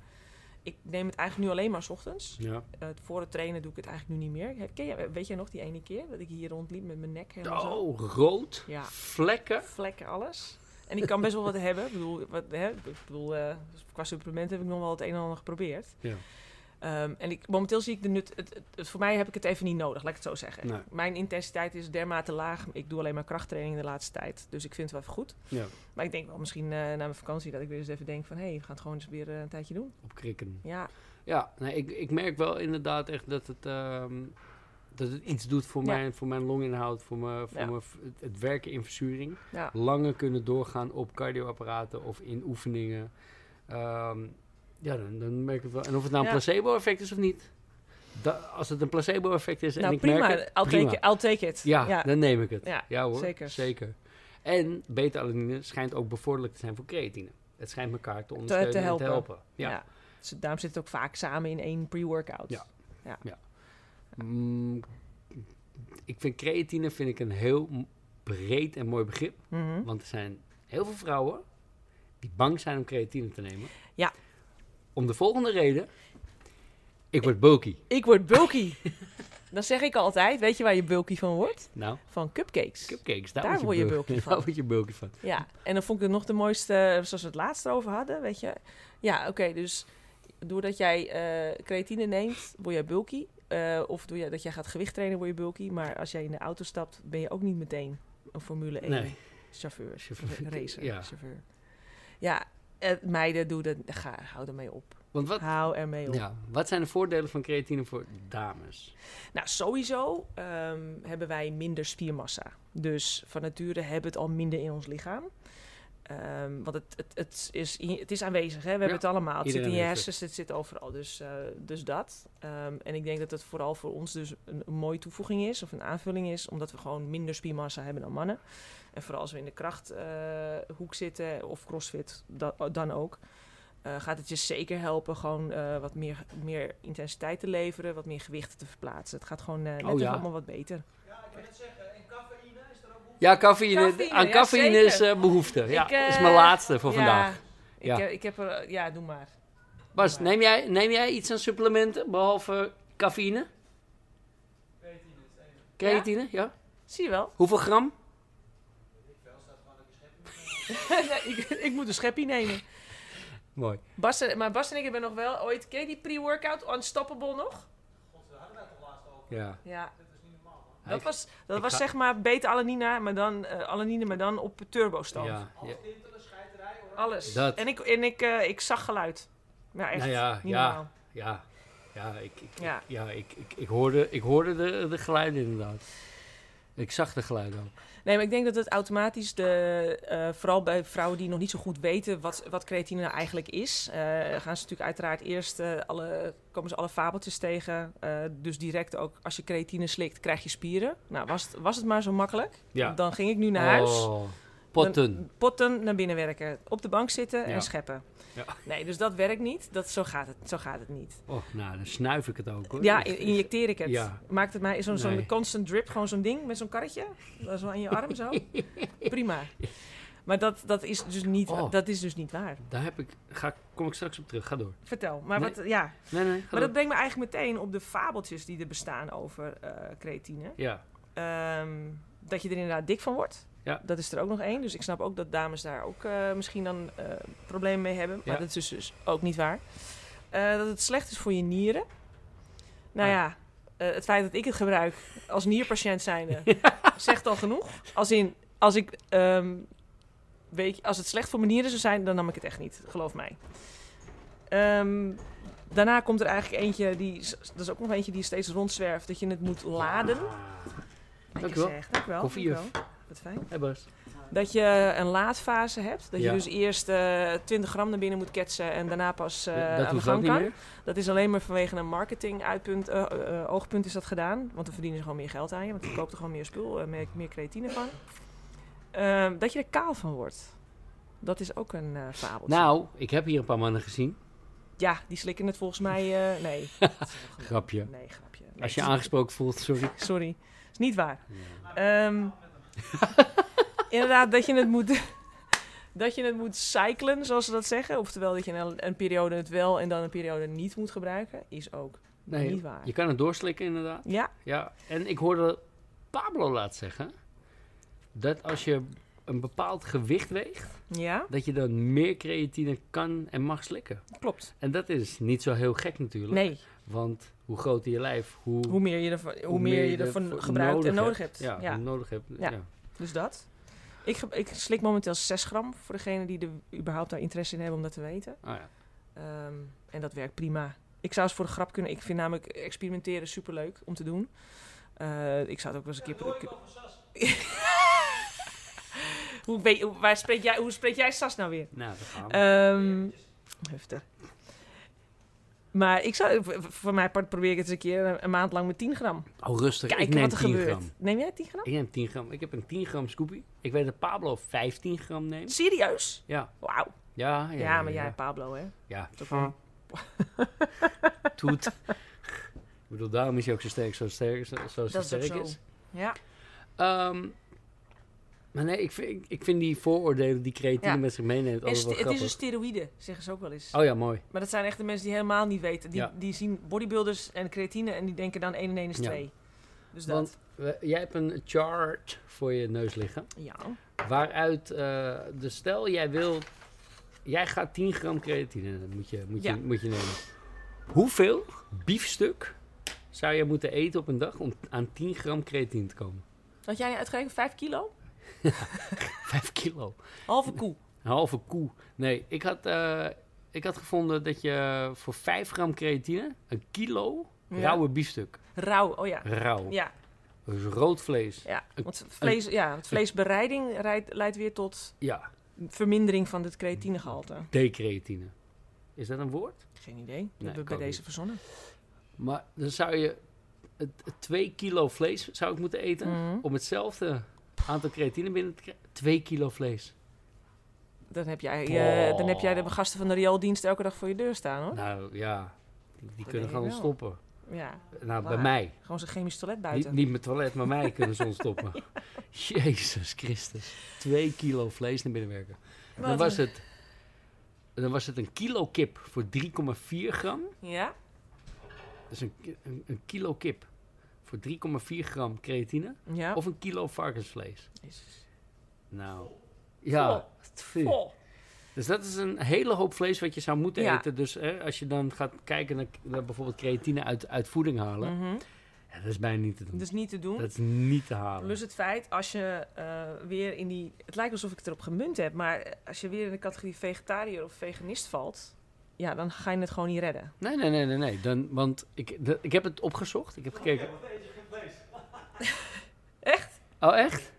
Ik neem het eigenlijk nu alleen maar 's ochtends. Ja. Eh, voor het trainen doe ik het eigenlijk nu niet meer. Heb- Ken jij, weet jij nog die ene keer dat ik hier rondliep met mijn nek helemaal zo? Oh, rood. Ja. Vlekken. vlekken, alles. En ik kan best wel wat hebben. Ik bedoel, wat, hè, ik bedoel eh, qua supplementen heb ik nog wel het een en ander geprobeerd. Ja. Ehm, en ik, momenteel zie ik de nut... Het, het- het- voor mij heb ik het even niet nodig, laat ik het zo zeggen. Nee. Mijn intensiteit is dermate laag. Ik doe alleen maar krachttraining de laatste tijd. Dus ik vind het wel even goed. Ja. Maar ik denk wel misschien eh, na mijn vakantie dat ik weer eens even denk van... hé, hey, we gaan het gewoon eens weer eh, een tijdje doen. Op krikken. Ja, Ja, nee, ik, ik merk wel inderdaad echt dat het, ehm, dat het iets doet voor, Ja. mijn, voor mijn longinhoud, voor, mijn, voor Ja. mijn, v- het, het werken in verzuring. ja. Langer kunnen doorgaan op cardioapparaten of in oefeningen. Ehm, ja, dan, dan merk ik het wel. En of het nou een Ja. placebo-effect is of niet. Da- als het een placebo-effect is en nou ik prima. merk het, I'll, prima. Take it, I'll take it. Ja, ja. dan neem ik het. Ja, Ja, hoor, zeker. zeker. En beta-alanine schijnt ook bevorderlijk te zijn voor creatine. Het schijnt elkaar te ondersteunen en helpen. te helpen. Ja. Ja. Dus daarom zit het ook vaak samen in één pre-workout. Ja. Mm, ik vind creatine vind ik een heel m- breed en mooi begrip. Mhm. Want er zijn heel veel vrouwen die bang zijn om creatine te nemen. Ja. Om de volgende reden. Eh. Ik word bulky. Ik word bulky. Dan zeg ik altijd, weet je waar je bulky van wordt? Nou, Van cupcakes. cupcakes, daar, Daar word je bulky, van. Daar word je bulky van. Ja, en dan vond ik het nog de mooiste, eh, zoals we het laatst over hadden, weet je. Ja, oké, dus doordat jij eh, creatine neemt, word jij bulky. Eh, of doordat dat jij gaat gewicht trainen, word je bulky. Maar als jij in de auto stapt, ben je ook niet meteen een Formule 1 Nee. chauffeur, Chauffeur, racer, ja. chauffeur. Ja, eh, meiden, doe dat, ga, hou ermee op. Want wat, Hou ermee op. ja, wat zijn de voordelen van creatine voor dames? Nou, sowieso ehm, hebben wij minder spiermassa. Dus van nature hebben we het al minder in ons lichaam. Ehm, want het, het, het, is, in- het is aanwezig, hè? we hebben het allemaal. Het zit iedereen in je heeft het. hersens, het zit overal. Dus, eh, dus dat. Ehm, en ik denk dat het vooral voor ons dus een, een mooie toevoeging is, of een aanvulling is, omdat we gewoon minder spiermassa hebben dan mannen. En vooral als we in de krachthoek zitten of crossfit, da- dan ook. eh, gaat het je zeker helpen gewoon eh, wat meer, meer intensiteit te leveren, wat meer gewichten te verplaatsen. Het gaat gewoon eh, net Oh, even ja. allemaal wat beter. Ja, cafeïne. Cafeïne, aan ja, cafeïne zeker. is eh, behoefte. Ja, Ik, eh, dat is mijn laatste voor vandaag. Ik, Ja. eh, ik heb er, ja, doe maar. Bas, Maar- neem jij, neem jij iets aan supplementen behalve cafeïne? Creatine, ja? Zie je wel? Hoeveel gram? Nee, ik, ik moet een scheppie nemen. Mooi. Bas en, maar Bas en ik hebben nog wel ooit... Ken je die pre-workout Unstoppable nog? Ja. Ja. Hij- Dat was, dat ik was ga- zeg maar beta alanina, maar dan, eh, alanine, maar dan op turbostand. ja, ja. Alles. Dat. En, ik, en ik, eh, ik zag geluid. Ja, echt. Nou ja, Niet ja. normaal. Ja, ja, ik, ik, Ja. ik- ja, ik, ik, ik hoorde, ik hoorde de, de geluiden inderdaad. Ik zag de geluiden ook. Nee, maar ik denk dat het automatisch, de, eh, vooral bij vrouwen die nog niet zo goed weten wat, wat creatine nou eigenlijk is, eh, gaan ze natuurlijk uiteraard eerst eh, alle, komen ze alle fabeltjes tegen. Eh, dus direct ook als je creatine slikt, krijg je spieren. Nou, was het, was het maar zo makkelijk, dan ging ik nu naar huis. Oh, potten. Dan- potten naar binnen werken, op de bank zitten Ja. en scheppen. Ja. Nee, dus dat werkt niet. Dat, zo, gaat het, zo gaat het niet. Oh, nou, dan snuif ik het ook hoor. Ja, Ik- ik- in- injecteer ik het. Ja. Maakt het mij zo'n zo'n Nee. constant drip, gewoon zo'n ding met zo'n karretje. Dat is wel aan je arm zo. Prima. Maar dat, dat, is, dus niet, Oh. dat is dus niet waar. Daar heb ik, ga, kom ik straks op terug. Ga door. Vertel. Maar, Nee. wat, ja. Nee, nee, ga maar door. dat brengt me eigenlijk meteen op de fabeltjes die er bestaan over eh, creatine. Ja, Ehm, dat je er inderdaad dik van wordt. Ja. Dat is er ook nog één. Dus ik snap ook dat dames daar ook eh, misschien dan eh, problemen mee hebben. Maar Ja. dat is dus, dus ook niet waar. Eh, dat het slecht is voor je nieren. Nou Ah. ja, eh, het feit dat ik het gebruik als nierpatiënt zijnde zegt al genoeg. Als in, als ik, ehm, weet je, als het slecht voor mijn nieren zou zijn, dan nam ik het echt niet. Geloof mij. Ehm, daarna komt er eigenlijk eentje, die, is- dat is ook nog eentje die steeds rondzwerft. Dat je het moet laden. Dank je je wel. zegt, Dank je wel. Koffie, dank je wel. Wat fijn. Ah. hey Bas. Dat je een laadfase hebt. Dat Ja. je dus eerst eh 20 gram naar binnen moet ketsen en daarna pas eh, dat aan de hoeft ook gang niet kan. meer. Dat is alleen maar vanwege een marketing uitpunt, eh, eh, eh, oogpunt is dat gedaan. Want dan verdienen ze gewoon meer geld aan je. Want je koopt er gewoon meer spul, eh, meer, meer creatine van. Ehm, dat je er kaal van wordt. Dat is ook een eh fabeltje. Nou, ik heb hier een paar mannen gezien. Ja, die slikken het volgens mij... eh, nee. Grapje. Nee, grapje. Nee, Als je het is- aangesproken voelt, sorry. Sorry, is niet waar. Ehm, inderdaad, dat je het moet. Dat je het moet cyclen, zoals ze dat zeggen. Oftewel dat je een, een periode het wel en dan een periode niet moet gebruiken, is ook niet Nee, waar. je kan het doorslikken inderdaad. Ja, Ja, en ik hoorde Pablo laat zeggen dat als je een bepaald gewicht weegt, ja, dat je dan meer creatine kan en mag slikken. klopt. En dat is niet zo heel gek natuurlijk, Nee, want hoe groter je lijf, hoe, hoe meer je ervan, hoe meer je ervan ervoor gebruikt en nodig hebt. Ja, Ja, hoe nodig hebt. Ja. Ja. Dus dat. Ik, ge- ik slik momenteel 6 gram voor degene die er überhaupt daar interesse in hebben om dat te weten. Ah, ja. Ehm, en dat werkt prima. Ik zou eens voor de grap kunnen. Ik vind namelijk experimenteren superleuk om te doen. Eh, ik zou het ook wel eens een keer. hoe, weet, hoe, waar spreek jij, hoe spreek jij Sas nou weer? Nou, daar gaan we. Ehm heftig. Maar ik zou, v- v- voor mij part probeer ik het eens een keer een, een maand lang met 10 gram. oh, rustig. ik Kijken neem wat er 10 gebeurt. gram. Neem jij 10 gram? Ik neem 10 gram. Ik heb een 10 gram scoopie. Ik weet dat Pablo 15 gram neemt. Serieus? Ja, Wauw. ja, ja. Ja, maar jij, Pablo, hè? Ja, Toch wel. toet. ik bedoel, daarom is hij ook zo sterk, zo sterk, zo, zo Dat is ook sterk zo. is. Ja. Ehm, maar nee, ik vind, ik vind die vooroordelen die creatine Ja. met zich meeneemt En altijd st- wel het is grappig. een steroïde, zeggen ze ook wel eens. Oh ja, mooi. Maar dat zijn echt de mensen die helemaal niet weten. Die, Ja. die zien bodybuilders en creatine en die denken dan 1 en 1 is Ja. 2. Dus dat. Want we- jij hebt een chart voor je neus liggen. ja. Waaruit, eh dus stel jij wil, jij gaat 10 gram creatine dat moet je, moet je, Ja. moet je nemen. Hoeveel biefstuk zou je moeten eten op een dag om aan 10 gram creatine te komen? Had jij uitgerekend 5 kilo? 5 kilo. Halve koe. Een halve koe. Nee, ik had, eh, ik had gevonden dat je voor 5 gram creatine een kilo Ja. rauwe biefstuk. Rauw, oh ja. Rauw. Ja, Dus rood vlees. ja. Want, vlees, ja, want vleesbereiding rijdt- leidt weer tot Ja, vermindering van het creatinegehalte. D-creatine. Is dat een woord? Geen idee. Dat Nee, hebben ik we bij ook deze niet. verzonnen. Maar dan zou je het- het 2 kilo vlees zou ik moeten eten Mhm. om hetzelfde aantal creatine binnen te krijgen. 2 kilo vlees. Dan heb, jij, eh, Oh. dan heb jij de gasten van de riooldienst elke dag voor je deur staan, hoor. Nou ja, die, Dat die kunnen denk gewoon ik wel. stoppen. Ja, Nou, bij Waar? mij. gewoon zijn chemisch toilet Niet, buiten. niet mijn toilet, maar mij kunnen ze ontstoppen. Jezus Christus. Twee kilo vlees naar binnen werken. Wat Dan was, een- het, dan was het een kilo kip voor 3,4 gram. Ja? Dus een, ki- een, een kilo kip voor 3,4 gram creatine. Ja. Of een kilo varkensvlees. Jezus. Nou, ja. tfie. Oh. Dus dat is een hele hoop vlees wat je zou moeten Ja. eten. Dus hè, als je dan gaat kijken naar, naar bijvoorbeeld creatine uit, uit voeding halen. Mhm. Ja, dat is bijna niet te doen. Dus niet te doen. Dat is niet te halen. Plus het feit, als je eh, weer in die... Het lijkt alsof ik het erop gemunt heb, maar eh, als je weer in de categorie vegetariër of veganist valt... Ja, dan ga je het gewoon niet redden. Nee, nee, nee, nee, nee. Dan, want ik, de- ik heb het opgezocht. Ik heb gekeken. Echt? Oh, echt?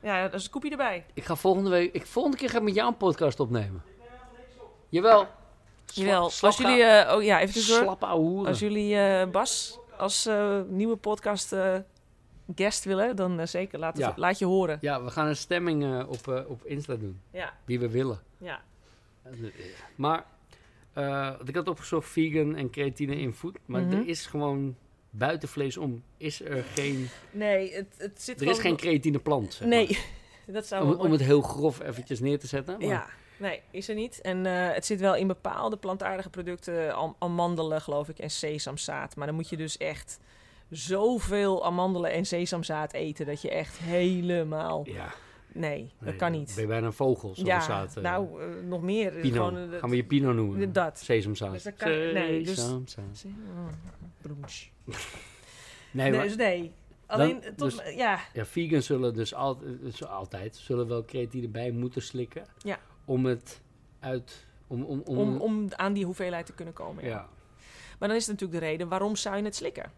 Ja, dat is een koepje erbij. Ik ga volgende week. Ik, volgende keer ga ik met jou een podcast opnemen. Jawel. Sla- slap als jullie... ou- eh, oh ja, even tussendoor. Slap ouwe hoeren. Als jullie eh, Bas als eh, nieuwe podcast eh, guest willen, dan eh, zeker laat, het- Ja. laat je horen. Ja, we gaan een stemming eh, op, eh, op Insta doen. Ja, Die we willen. ja. Maar, eh, want ik had opgezocht vegan en creatine in food. Maar Mhm. er is gewoon buiten vlees om. Is er geen... Nee, het, het zit Er is geen creatine plant. Nee, Dat zou Om, wel om mooi- het heel grof eventjes neer te zetten. Maar, Ja, nee, is er niet. En eh, het zit wel in bepaalde plantaardige producten, am- amandelen geloof ik en sesamzaad. Maar dan moet je dus echt zoveel amandelen en sesamzaad eten dat je echt helemaal... ja, Nee, dat nee, kan Ben niet. je bijna een vogel, zoals Ja, zaten. nou, eh, nog meer. eh, Pino. Gewoon, eh, dat- Gaan we je Pino noemen? dat. Sesamzaad. Dus dat kan- nee, dus- Sesamzaad. Oh, broens. Nee, Nee, maar, dus nee. Alleen, tot, dus- ja, ja, vegans zullen dus altijd, dus altijd zullen wel creatine bij moeten slikken. Ja. Om het uit... Om, om, om, om, om aan die hoeveelheid te kunnen komen. Ja. ja. Maar dan is het natuurlijk de reden, waarom zou je het slikken?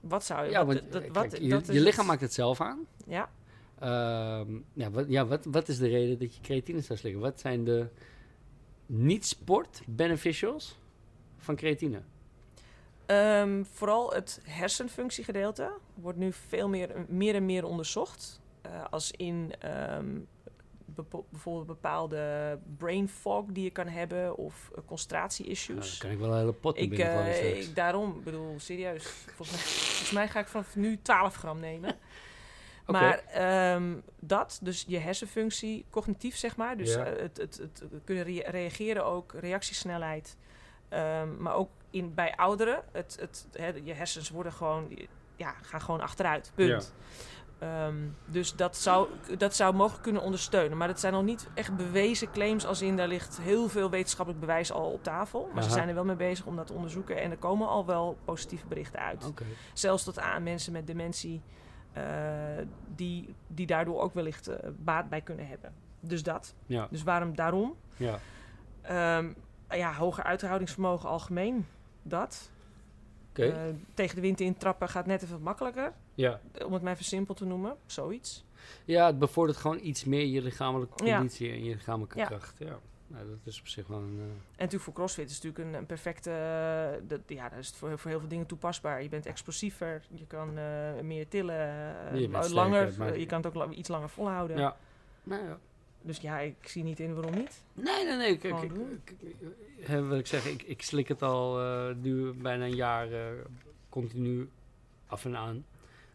Wat zou je... Ja, Oh wat- want dat- eh, wat- kijk, je, dat is dus je lichaam het. maakt het zelf aan. Ja, Ehm, ja, wat, ja wat, wat is de reden dat je creatine zou slikken? Wat zijn de niet-sport beneficials van creatine? Nou, Ehm, vooral het hersenfunctiegedeelte wordt nu veel meer, meer en meer onderzocht. Eh, als in ehm, bepo- bijvoorbeeld bepaalde brain fog die je kan hebben of eh, Nou, concentratie-issues. daar kan ik wel een hele pot in Ik, binnenvallen eh, straks. ik daarom, bedoel, serieus. Volgens mij, volgens mij ga ik vanaf nu 12 gram nemen. Oké. Maar ehm, dat, dus je hersenfunctie, cognitief zeg maar. Dus Ja. eh, het, het, het kunnen rea- reageren ook, reactiesnelheid. Ehm, maar ook in, bij ouderen, het, het, hè, je hersens worden gewoon, ja, gaan gewoon achteruit. Punt. Ehm, dus dat zou, dat zou mogelijk kunnen ondersteunen. Maar dat zijn nog niet echt bewezen claims, als in daar ligt heel veel wetenschappelijk bewijs al op tafel. Maar ze Aha. zijn er wel mee bezig om dat te onderzoeken. En er komen al wel positieve berichten uit. Oké. Zelfs tot aan mensen met dementie, eh, die, die daardoor ook wellicht eh, baat bij kunnen hebben. Dus dat. Ja, Dus waarom daarom? ja. Ehm, ja, hoger uithoudingsvermogen algemeen. Dat. Oké. Eh, tegen de wind in trappen gaat net even wat makkelijker. ja. Om het mij versimpeld te noemen. Zoiets. ja, het bevordert gewoon iets meer je lichamelijke Ja. conditie en je lichamelijke Ja. kracht. Ja. Nou, dat is op zich wel een... eh, En natuurlijk voor CrossFit is het natuurlijk een, een perfecte. eh, dat, ja, dat is het voor, voor heel veel dingen toepasbaar. Je bent explosiever, je kan eh, meer tillen, eh, Je bent langer. sterker, maar- eh, je kan het ook la- iets langer volhouden. ja. Nou ja. Dus ja, ik zie niet in waarom niet. Nee, nee, nee. Ik, ik, Gewoon ik, doen. ik- ik- hè, wat ik zeg, ik, ik slik het al eh, nu bijna een jaar eh, continu af en aan.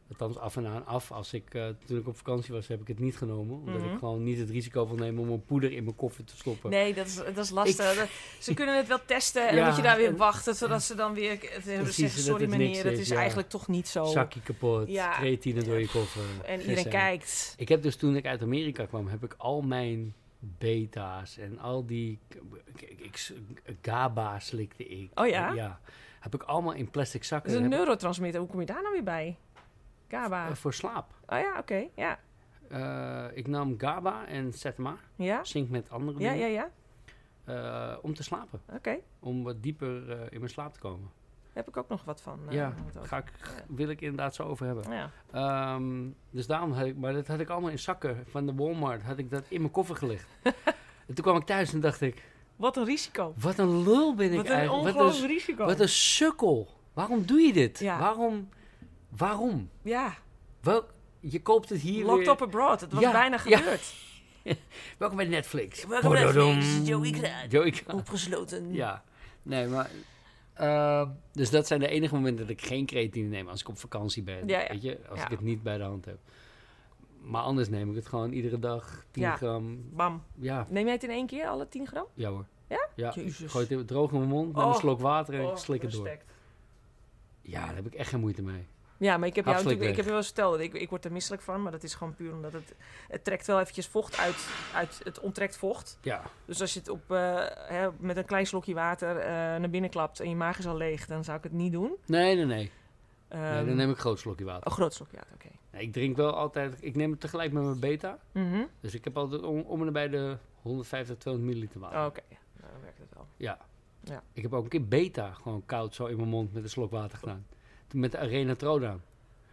Althans, af en aan af. Als ik, eh, toen ik op vakantie was, heb ik het niet genomen. Omdat Mhm. ik gewoon niet het risico wil nemen om een poeder in mijn koffie te stoppen. Nee, dat is, dat is lastig. Dat- Ze kunnen het wel testen en Ja, dan moet je daar weer en- wachten, zodat ze dan weer k- het hebben Precies, zeggen, dat sorry het meneer, niks dat is, is ja. eigenlijk toch niet zo. Zakje kapot, oh. Ja. creatine door je koffer. En Geen iedereen zijn. kijkt. Ik heb dus toen ik uit Amerika kwam, heb ik al mijn beta's en al die ik, ik, ik- GABA slikte ik. Oh ja? Ja. Heb ik allemaal in plastic Dat zakken. is een Heb ik- neurotransmitter, hoe kom je daar nou weer bij? GABA. eh, voor slaap. Oh ja, oké, ja. Eh, ik nam GABA en ZMA, Ja, zink met andere ja, dingen, ja, ja. eh, om te slapen. Oké. Om wat dieper eh, in mijn slaap te komen. Daar heb ik ook nog wat van. eh, Ja, om het over- Ga ik, wil ik inderdaad zo over hebben. ja. Ehm, dus daarom had ik, maar dat had ik allemaal in zakken van de Walmart, had ik dat in mijn koffer gelegd. en toen kwam ik thuis en dacht ik, Wat een risico. wat een lul ben ik Wat een eigenlijk. ongelooflijk Wat een, risico. wat een sukkel. Waarom doe je dit? Ja. Waarom? Waarom? Ja, Wel, je koopt het hier locked weer. up abroad. Het was Ja, bijna ja. gebeurd. Welkom bij Netflix. Welkom bij Pododom. Netflix, Joey Kraat. Joey Kraat. Opgesloten. Ja, nee, maar. eh, dus dat zijn de enige momenten dat ik geen creatine neem als ik op vakantie ben. Ja, ja. Weet je, als Ja. ik het niet bij de hand heb. Maar anders neem ik het gewoon iedere dag 10 Ja. gram. Bam. Ja, Neem jij het in één keer, alle 10 gram? ja hoor. Ja? Ja, ik Jezus. gooi het droog in mijn mond, neem een Oh. slok water en ik Oh, slik het door. respect. Ja, daar heb ik echt geen moeite mee. Ja, maar ik heb jou Absoluut natuurlijk, ik heb je wel eens verteld, dat ik, ik word er misselijk van, maar dat is gewoon puur omdat het, het trekt wel eventjes vocht uit, uit het onttrekt vocht. Ja, Dus als je het op, eh, hè, met een klein slokje water eh, naar binnen klapt en je maag is al leeg, dan zou ik het niet doen. nee, nee, nee. nee Ehm, dan neem ik een groot slokje water. Een groot slokje water, oké. Nee, Ik drink wel altijd, ik neem het tegelijk met mijn beta. Mhm. Dus ik heb altijd om, om en nabij de 150, 200 milliliter water. Oh, Oké, nou, dan werkt het wel. Ja. Ja. Ik heb ook een keer beta gewoon koud zo in mijn mond met een slok water gedaan. Toen met de Arena Trodan.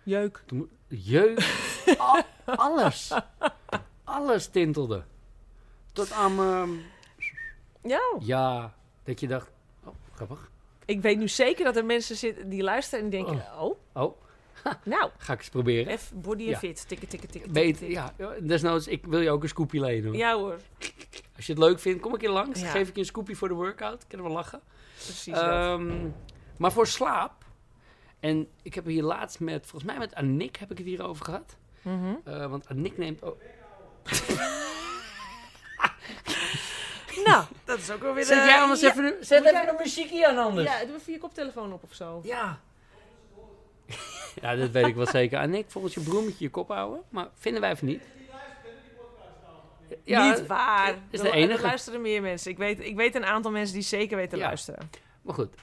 Jeuk. Toen jeuk. al- alles. Alles tintelde. Tot aan mijn... Ja, Ja, dat je dacht... Oh, grappig. ik weet nu zeker dat er mensen zitten die luisteren en die denken, oh, Oh, nou, ga ik eens proberen. F, body en Ja. fit, tikken, tikken, tikken, tikken, Beter, tikken. ja. Desnoods, ik wil je ook een scoopje lenen. hoor. Ja hoor, Als je het leuk vindt, kom ik hier langs. Ja. Geef ik je een scoopje voor de workout. Kunnen we lachen. precies dat. Ehm, maar voor slaap... En ik heb hier laatst met... Volgens mij met Annick heb ik het hierover gehad. Mhm. Eh, want Nick neemt ook... Nou, dat is ook wel weer... Zet eh, jij anders ja. even, een- zet Moet even jij- een muziekje aan anders. Ja, doe even je koptelefoon op of zo. Ja. ja, dat weet ik wel zeker. En ik volgens je broer moet je je kop houden, maar vinden wij van niet. Ja, Niet waar. is Er- de er enige. luisteren meer mensen. Ik weet, ik weet een aantal mensen die zeker weten te Ja. luisteren. maar goed.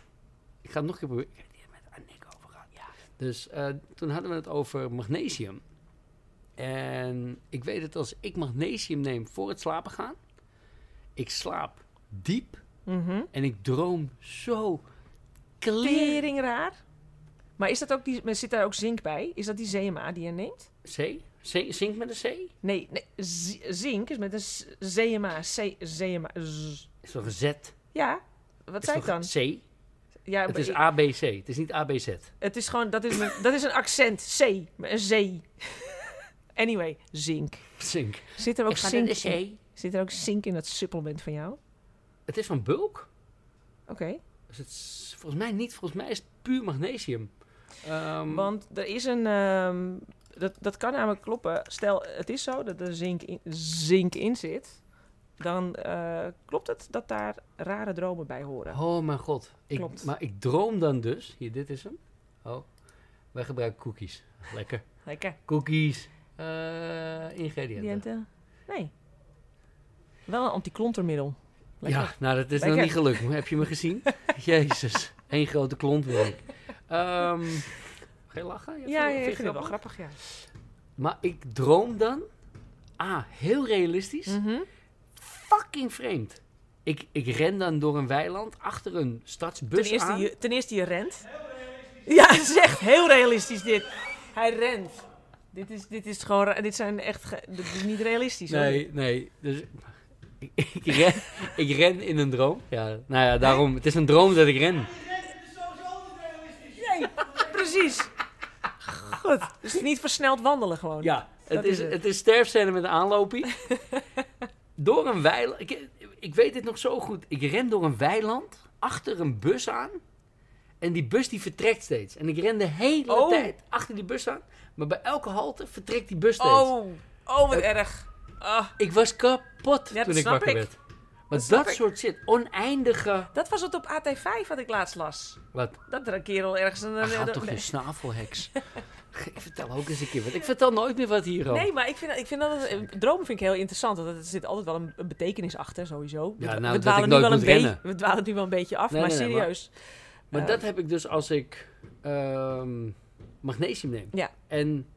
Ik ga het nog een keer proberen. Ik heb het hier met Annick over gehad. Dus eh, toen hadden we het over magnesium. En ik weet dat als ik magnesium neem voor het slapen gaan, ik slaap diep Mhm. en ik droom zo clear. Tering raar. Maar is dat ook die, maar zit daar ook zink bij? Is dat die ZMA die je neemt? C? C? Zink met een C? Nee, nee z- zink is met een s- ZMA. C, ZMA. z- Is toch een Z? Ja, wat zei ik dan? C? Ja, Ah, Het maar is ik- ABC. Het is niet ABC. het is gewoon, dat is, een, dat is een accent. C, een Z. Anyway, zink. Zink. Zit er ook, zink in, C. zit er ook zink in dat supplement van jou? Het is van bulk. Oké. Dus het is volgens mij niet. Volgens mij is het puur magnesium. Ehm, Want er is een. ehm, dat, dat kan namelijk kloppen. Stel, het is zo dat er zink in, zink in zit. Dan eh, klopt het dat daar rare dromen bij horen. Oh mijn god. Ik, Klopt. maar ik droom dan dus. Hier, dit is hem. Oh. Wij gebruiken cookies. Lekker. Lekker. Cookies. Eh, ingrediënten. Diënten? Nee. Wel een antiklontermiddel. Lekker. Ja, nou dat is nog Lekker. niet gelukt. maar Heb je me gezien? Jezus. Eén grote klont wil ik. Ehm, geen lachen? Ja, Ja, ja, vind ik je vind het wel grappig? grappig, ja. Maar ik droom dan. Ah, heel realistisch. Mhm. fucking vreemd. Ik, ik ren dan door een weiland achter een stadsbus Ten, eerste, Dus aan. je, ten eerste, je rent. Ja, het is echt heel realistisch dit. Hij rent. Dit is, dit is gewoon... ra- Dit zijn echt... ge- Dit is niet realistisch. hoor. Nee, nee. Dus ik, ik, ren, ik ren in een droom. Ja, nou ja, daarom. Het is een droom dat ik ren. Precies. Goed. Dus niet versneld wandelen gewoon. Ja, het Dat is, is het. het is sterfscène met een aanloopie. door een weiland. Ik, ik weet dit nog zo goed. Ik ren door een weiland achter een bus aan. En die bus die vertrekt steeds. En ik ren de hele Oh. tijd achter die bus aan. Maar bij elke halte vertrekt die bus steeds. Oh, oh wat erg. Ah, Ik was kapot Ja, dat toen ik snap wakker ik. werd. Maar dat, snap ik. soort shit, oneindige... Nou, dat was het op AT5 wat ik laatst las. Wat? Dat er een kerel ergens... Een, Ach, houd een- toch je een- snavelheks. ik vertel ook eens een keer wat. Ik vertel nooit meer wat hierover. Nee, maar ik vind, dat- ik vind dat... het- eh, Dromen vind ik heel interessant. Want er zit altijd wel een, een betekenis achter, sowieso. Ja, We- nou, we dat ik dwalen nooit nu wel moet een beetje- rennen. We dwalen nu wel een beetje af, Nee, maar nee, nee, maar- serieus. maar eh. dat heb ik dus als ik ehm, magnesium neem. Ja. En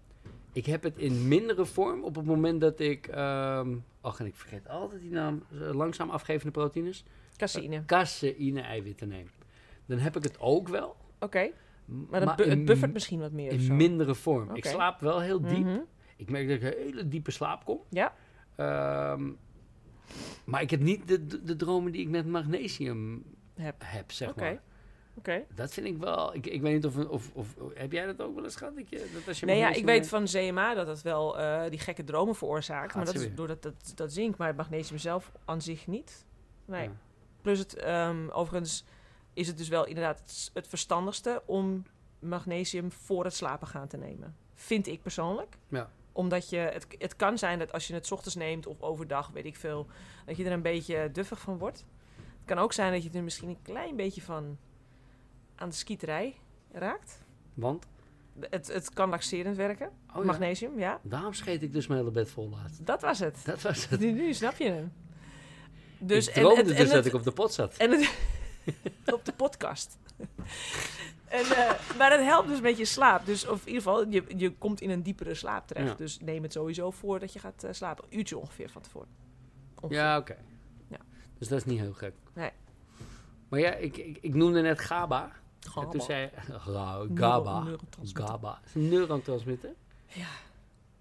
ik heb het in mindere vorm op het moment dat ik... ehm ach, en ik vergeet altijd die naam. eh, Langzaam afgevende proteïnes. Cassine. Oké. Caseïne-eiwitten neem. Dan heb ik het ook wel. Maar dat bu- het in, buffert misschien wat meer. of zo. in mindere vorm. Ik Oké. slaap wel heel diep. Mhm. Ik merk dat ik een hele diepe slaap kom. Ja. Ehm, maar ik heb niet de, de, de dromen die ik met magnesium Heb. heb, zeg Oké. maar. Oké. Dat vind ik wel... Ik, ik weet niet of, of, of... Heb jij dat ook wel eens gehad? Dat je, dat als je Nee, ja, ik magnesium weet neemt- van CMA dat dat wel eh, die gekke dromen veroorzaakt. Gaat maar dat ze is weer. doordat dat, dat zink, maar het magnesium zelf aan zich niet. Nee. Ja. Plus het, ehm, overigens is het dus wel inderdaad het, s- het verstandigste om magnesium voor het slapen gaan te nemen. Vind ik persoonlijk. Ja. Omdat je, het, het kan zijn dat als je het 's ochtends neemt of overdag, weet ik veel, dat je er een beetje duffig van wordt. Het kan ook zijn dat je er misschien een klein beetje van aan de skieterij raakt. Want? Het, het kan laxerend werken, Oh, ja. magnesium, ja. Daarom scheet ik dus mijn hele bed vol laatst. Dat was het. Dat was het. Nu, nu snap je hem. Dus, ik droomde en, dus en dat het, ik op de pot zat. en het- op de podcast. en, eh, maar het helpt dus met je slaap. Dus of in ieder geval, je, je komt in een diepere slaap terecht. Ja. Dus neem het sowieso voor dat je gaat eh, slapen. Een uurtje ongeveer van tevoren. Ongeveer. Ja, oké. Ja. Dus dat is niet heel gek. Nee. Maar ja, ik, ik, ik noemde net GABA. Gewoon En toen allemaal zei... Ra- neuro- GABA. neurotransmitter. GABA. Het is een neurotransmitter.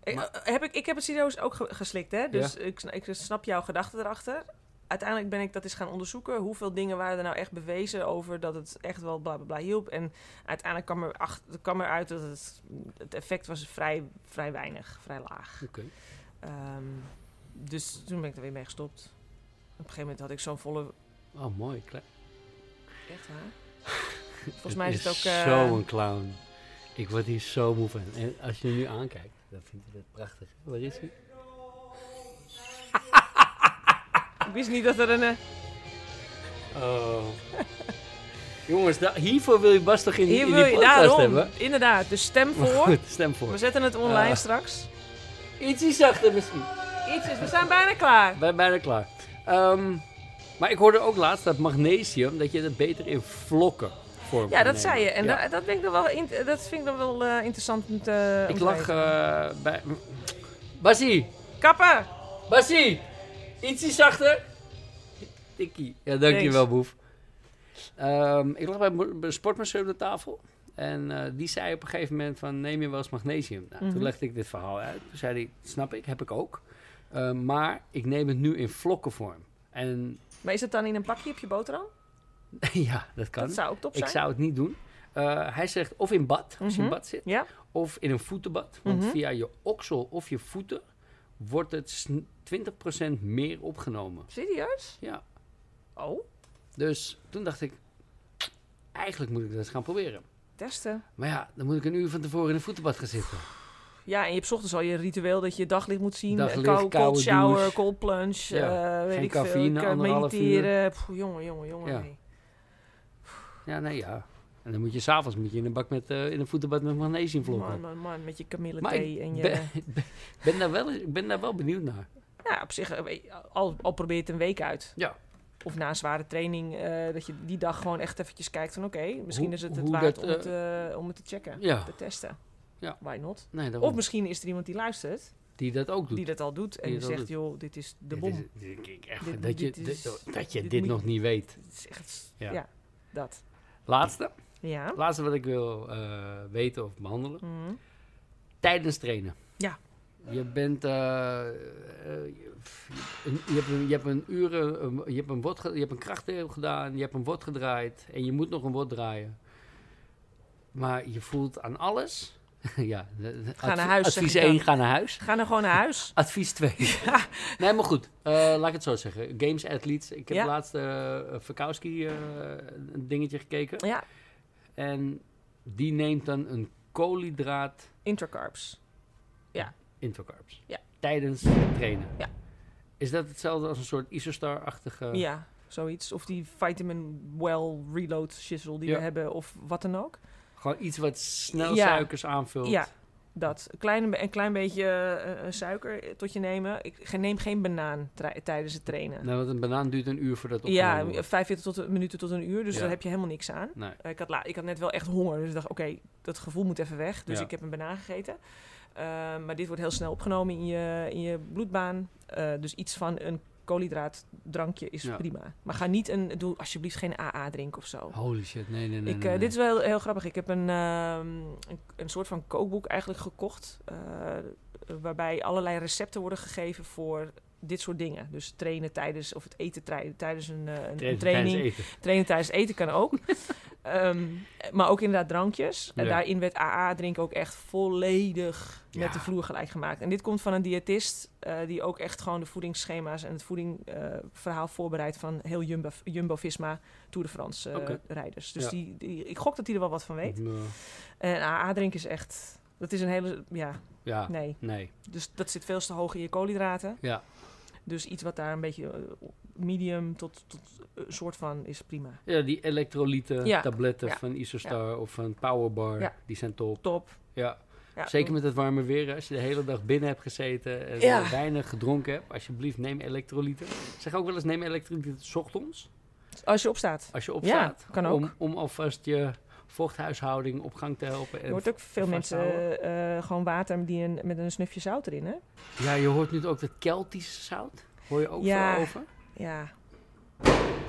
Ik, eh, heb ik, ik heb het serieus ook ge- geslikt, hè? Dus Ja. ik, sna- ik snap jouw gedachten erachter. Uiteindelijk ben ik dat eens gaan onderzoeken. Hoeveel dingen waren er nou echt bewezen over dat het echt wel bla bla bla hielp. En uiteindelijk kwam, er ach- kwam eruit dat het, het effect was vrij, vrij weinig, vrij laag. Oké. Ehm, dus toen ben ik er weer mee gestopt. Op een gegeven moment had ik zo'n volle... Oh, mooi. Klein. Echt waar? Volgens mij is het ook... eh, Zo'n clown. Ik word hier zo moe van. En als je hem nu aankijkt, dan vind je dat prachtig. Waar is hij? Ik wist niet dat er een... eh, Oh. Jongens, da- hiervoor wil je Bas toch in, die- Hier in wil die je, podcast daarom. hebben? Inderdaad, dus stem Maar voor. goed, stem voor. We zetten het online Ah. straks. Ietsje zachter misschien. Iets is, we zijn bijna klaar. We zijn bijna klaar. Ehm, maar ik hoorde ook laatst dat magnesium, dat je dat beter in vlokken vormt. Ja, dat zei je. En ja. da- dat, vind ik dan wel in- dat vind ik dan wel eh, interessant om te om Ik te lag weten. eh, bij... Basie! Kappen! Basie! Ietsje zachter! Tikkie. Ja, dankjewel, Thanks. boef. Ehm, ik lag bij een bij een sportmasseur op de tafel. En eh, die zei op een gegeven moment van, neem je wel eens magnesium? Nou, Mhm. Toen legde ik dit verhaal uit. Toen zei hij, snap ik, heb ik ook. Eh, maar ik neem het nu in vlokkenvorm. En Maar is het dan in een pakje op je boterham? ja, dat kan. Dat zou ook top zijn. Ik zou het niet doen. Eh, hij zegt of in bad, als je in Mhm. bad zit, Ja, of in een voetenbad. Want Mhm. via je oksel of je voeten wordt het sn- 20% meer opgenomen. serieus? Ja, Oh, dus toen dacht ik, eigenlijk moet ik dat eens gaan proberen. testen. Maar ja, dan moet ik een uur van tevoren in een voetenbad gaan zitten. Ja, en je hebt 's ochtends al je ritueel dat je daglicht moet zien. Daglicht, Kou- cold koude shower, douche. cold plunge, Ja, eh, weet geen ik veel. cafeïne, Ik, eh, anderhalf uur. mediteren. Pff, jongen, jongen, jongen. Ja. nee. Ja, nee, ja. En dan moet je s'avonds in een bak met, eh, in een voetenbad met magnesium Man, vlokken. man, man, met je kamille Maar thee en je... ik ben, ben, daar wel, ik ben daar wel benieuwd naar. Ja, op zich, eh, weet- al, al probeer je het een week uit. Ja. Of na een zware training, eh, dat je die dag gewoon echt eventjes kijkt van... oké, misschien Hoe- is het het hoe waard dat, om, het, eh, om het te checken, Ja, te testen. Ja. Why not? nee, Of daarom. misschien is er iemand die luistert, die dat ook doet. die dat al doet... en die, Die dat al zegt, doet. joh, dit is de Dit bom. is- dit- ik- ik- echt, Dit- dat, je, dit dit, is- dat je dit, dit moet- nog niet weet. Het is echt... Ja. Ja. dat. Laatste. Ja. Laatste wat ik wil eh, weten of behandelen. Mhm. Tijdens trainen. Ja. Je bent... eh, eh, je, pff, een- je hebt een, je hebt een uren... een- je, hebt een wod, ge- je hebt een krachtdeel gedaan. Je hebt een wod gedraaid. En je moet nog een wod draaien. Maar je voelt aan alles... ja, de- de- Ga naar huis, zeg Advies ik dan. 1, ga naar huis. Ga dan gewoon naar huis. Advies 2. Nee, maar goed. Eh, laat ik het zo zeggen. Games Athletes. Ik heb Ja. laatst eh Verkowski eh, een dingetje gekeken. Ja, En die neemt dan een koolhydraat intercarbs. infocarps. Ja. Tijdens trainen. Ja. Is dat hetzelfde als een soort Isostar-achtige... Ja, zoiets. Of die vitamin well reload shizzle die Ja. we hebben of wat dan ook. Gewoon iets wat snel Ja. suikers aanvult. Ja, dat. Een klein, een klein beetje eh, eh, suiker eh, tot je nemen. Ik ge- neem geen banaan tra- tijdens het trainen. Nou, want een banaan duurt een uur voordat het ja, opgenomen wordt. 45 tot, een- minuten tot een uur, dus Ja. daar heb je helemaal niks aan. Nee. Eh, Ik had, la- ik had net wel echt honger, dus ik dacht, oké, dat gevoel moet even weg. Dus Ja. ik heb een banaan gegeten. Eh, maar dit wordt heel snel opgenomen in je, in je bloedbaan. Eh, dus iets van een koolhydraatdrankje is Ja. Oh, prima. Maar ga niet een, doe alsjeblieft geen AA drinken of zo. Holy shit, nee, nee, nee. Ik, nee, eh, nee. dit is wel heel, heel grappig. Ik heb een, ehm, een, een soort van kookboek eigenlijk gekocht. eh, waarbij allerlei recepten worden gegeven voor dit soort dingen. Dus trainen tijdens, of het eten trij- tijdens een, eh, een- een Tijdens- training. tijdens eten. Trainen tijdens eten kan ook. Ehm, maar ook inderdaad drankjes. En Ja. daarin werd AA drinken ook echt volledig Ja. met de vloer gelijk gemaakt. En dit komt van een diëtist eh, die ook echt gewoon de voedingsschema's en het voedingverhaal voorbereidt van heel Jumbo, Jumbo Visma Tour de France eh, Oké. rijders. Dus Ja. die, die- ik gok dat hij er wel wat van weet. Ja. En AA drinken is echt, dat is een hele, ja, Ja, nee. nee. Dus dat zit veel te hoog in je koolhydraten. Ja. Dus iets wat daar een beetje eh, medium tot, tot eh, soort van is prima. Ja, die elektrolyten, Ja. tabletten Ja. van Isostar of van Powerbar, Ja. die zijn top. Top. Ja. Ja, Zeker met het warme weer, hè. als je de hele dag binnen hebt gezeten en eh, Ja. weinig gedronken hebt, alsjeblieft neem elektrolyten. Ik Zeg ook wel eens neem elektrolyten 's ochtends, Als je opstaat. als je opstaat. kan ook. Om, om alvast je vochthuishouding op gang te helpen. Er En wordt ook veel mensen vasthouden. eh, gewoon water die een, met een snufje zout erin, hè? Ja, je hoort nu ook dat Keltische zout. Hoor je ook Ja. veel over? Ja.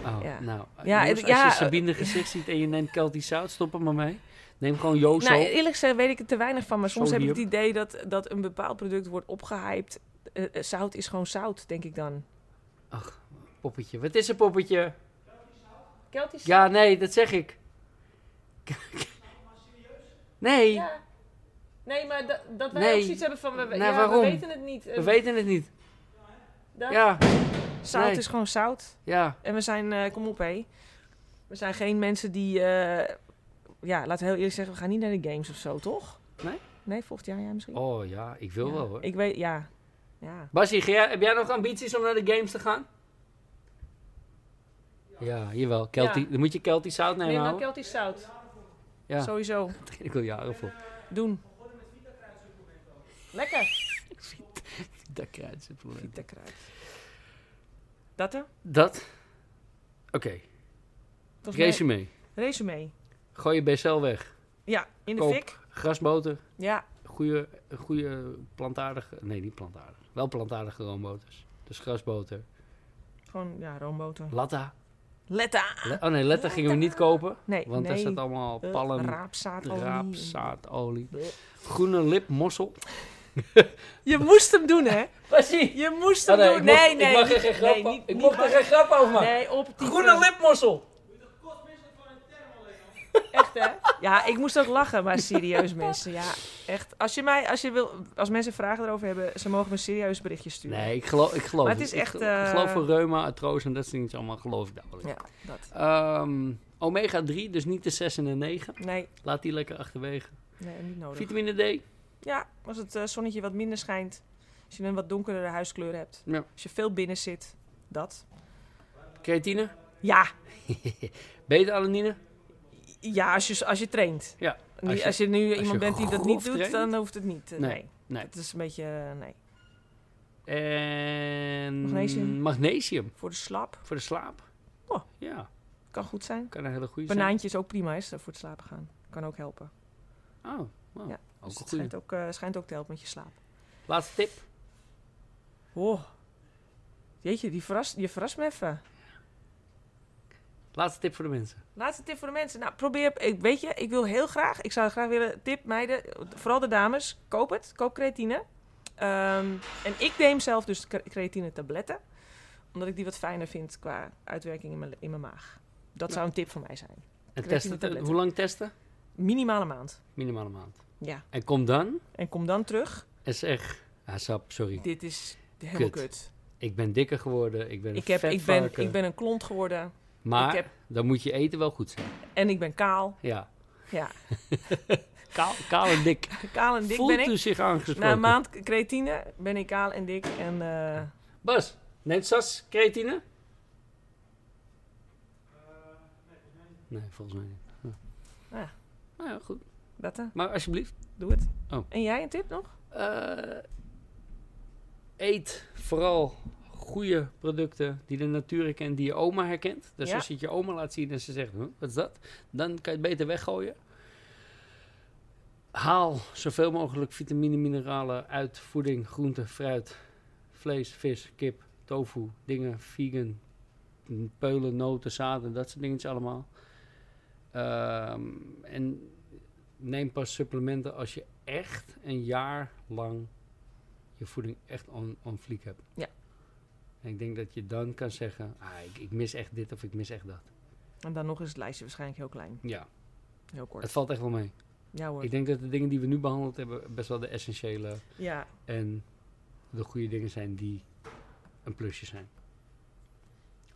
Oh, Ja. nou. Ja, jongens, het- als ja, je eh, Sabine gezicht ziet en je neemt Keltisch zout, stop er maar mee. Neem gewoon Jozo. Nou, eerlijk gezegd weet ik er te weinig van. Maar soms heb ik het Sodium. idee dat, dat een bepaald product wordt opgehyped. Eh, eh, zout is gewoon zout, denk ik dan. Poppetje. Wat is een poppetje? Keltisch Ja, nee, dat zeg ik. Nee. Nee, maar dat wij Nee. ook zoiets hebben van... We, Nou, ja, we waarom? weten het niet. We weten het niet. Ja, Zout nee. is gewoon zout. ja. En we zijn... eh, kom op, hé. We zijn geen mensen die... eh, ja, laten we heel eerlijk zeggen, we gaan niet naar de games of zo, toch? Nee? Nee, volgend jaar jij misschien? Oh ja, ik wil Ja. wel hoor. Ik weet, ja. Ja. Basie, ga jij- heb jij nog ambities om naar de games te gaan? Ja, jawel. Kelti, Ja. Dan moet je Keltisch zout nemen. Neem maar ouwe. Keltisch zout. Ja. Sowieso. Ik wil jaren voor. Doen. Lekker. Dat kruid supplement. Pieter Kruid. Dat hè? Dat. Oké, Volgens mij- resume. Resume. Gooi je BSL weg. Ja, in de Koop. fik. Grasboter. Ja, goede Goede, goede plantaardige. Nee, niet plantaardig. Wel plantaardige roomboters. Dus grasboter. gewoon ja, roomboter. Latta. Letta. Le- oh nee, latta gingen we niet kopen. Nee, Want daar nee. zit allemaal Eh, palm, raapzaad. olie. raapzaadolie. Bleh. Groene lipmossel. Je moest hem doen, hè? Precies. Je moest Oh, hem doen. nee, ik mocht- nee, ik nee. mag er niet- geen grap nee, over- niet- ik niet mocht er waar. geen grap over maken. Nee, op die Groene lipmossel. Echt, hè? Ja, ik moest ook lachen, maar serieus, mensen. Ja, echt. Als, je mij, als, je wil, als mensen vragen erover hebben, ze mogen me serieus berichtjes sturen. Nee, ik geloof, ik geloof Maar het is echt, Ik, eh, geloof voor reuma, artrose en dat soort dingen allemaal geloof ik daar wel in. Ja, dat. Ehm, omega 3, dus niet de 6 en de 9. Nee, Laat die lekker achterwege. Oh, nee, niet nodig. Vitamine D. Ja, als het eh, zonnetje wat minder schijnt. Als je een wat donkerdere huiskleur hebt. Ja. Als je veel binnen zit. Dat. Creatine. Ja, Beta-alanine. ja als, je, als je traint. Ja, Nu- als je- als je nu je iemand bent die dat niet grof doet, traint. dan hoeft het niet. Eh, Nee, Nee. nee. Het is een beetje, eh, nee. En Magnesium. magnesium Voor de slap. voor de slaap. Oh. Ja, Kan goed zijn. kan een hele goede Banaantje is ook prima, is eh, voor het slapen gaan. Kan ook helpen. zijn. Oh, wow. Ja, Dus ook een het goede. schijnt ook, eh, schijnt ook te helpen met je slaap. Laatste tip. Oh. Jeetje, die verrast, je verrast me even. Laatste tip voor de mensen. Laatste tip voor de mensen. Nou, probeer. Ik, weet je, ik wil heel graag. Ik zou graag willen. Tip meiden, vooral de dames. Koop het. Koop creatine. Ehm, en ik neem zelf dus cre- creatine tabletten. Omdat ik die wat fijner vind qua uitwerking in mijn, in mijn maag. Dat zou een tip van mij zijn. En Creatine testen. tabletten. Hoe lang testen? Minimale maand. Minimaal een maand. Ja. En kom dan En kom dan terug. en zeg... Ah, sap, sorry. Dit is helemaal kut. Ik ben dikker geworden. Ik ben een Ik, heb, ik, ben, vetvarken. ik ben een klont geworden. Maar Ik heb, dan moet je eten wel goed zijn. en ik ben kaal. Ja. Ja. Kaal, kaal en dik. Kaal en dik Voelt ben ik. Nou, u zich aangesproken? Na een maand creatine ben ik kaal en dik. En eh, Bas, neemt Sas creatine? Eh, nee, volgens mij niet. Ja. Ah. Nou ja, goed. dat hè. Maar alsjeblieft, Doe het. Oh. En jij een tip nog? eh, eet vooral goede producten die de natuur herkent, die je oma herkent. Dus Ja. als je het je oma laat zien en ze zegt, "Huh, wat is dat? Dan kan je het beter weggooien. Haal zoveel mogelijk vitamine, mineralen uit voeding, groente, fruit, vlees, vis, kip, tofu, dingen, vegan, m, peulen, noten, zaden, dat soort dingetjes allemaal. Ehm, en neem pas supplementen als je echt een jaar lang je voeding echt on, on fleek hebt. Ja. En ik denk dat je dan kan zeggen, ah, ik, ik mis echt dit of ik mis echt dat. En dan nog is het lijstje waarschijnlijk heel klein. Ja, Heel kort. het valt echt wel mee. Ja hoor. Ik denk dat de dingen die we nu behandeld hebben best wel de essentiële Ja. en de goede dingen zijn die een plusje zijn.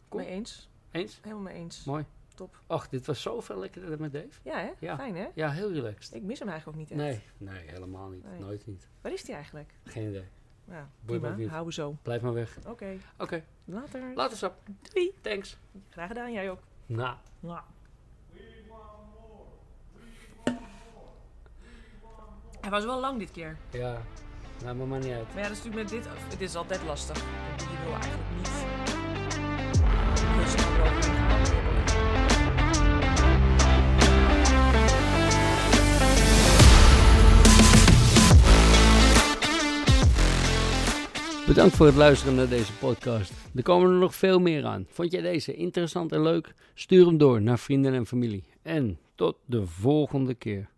Kom. Mee eens. Eens? Helemaal mee eens. Mooi. Top. Och, dit was zoveel lekkerder met Dave. Ja hè? Ja. Fijn hè? Ja, heel relaxed. Ik mis hem eigenlijk ook niet echt. Nee, nee, helemaal niet. Nee. Nooit niet. Waar is hij eigenlijk? Geen idee. Ja, me prima. ook niet. Houden we zo. Blijf maar weg. Oké. Oké, Later. later sap. Doei. Thanks. Graag gedaan. Jij ook. Nou. Mwah. Hij was wel lang dit keer. Ja, nou, maar maakt niet uit. Maar ja, dat is natuurlijk met dit... Dit is altijd lastig. Je wil eigenlijk niet... Bedankt voor het luisteren naar deze podcast. Er komen er nog veel meer aan. Vond jij deze interessant en leuk? Stuur hem door naar vrienden en familie. En tot de volgende keer.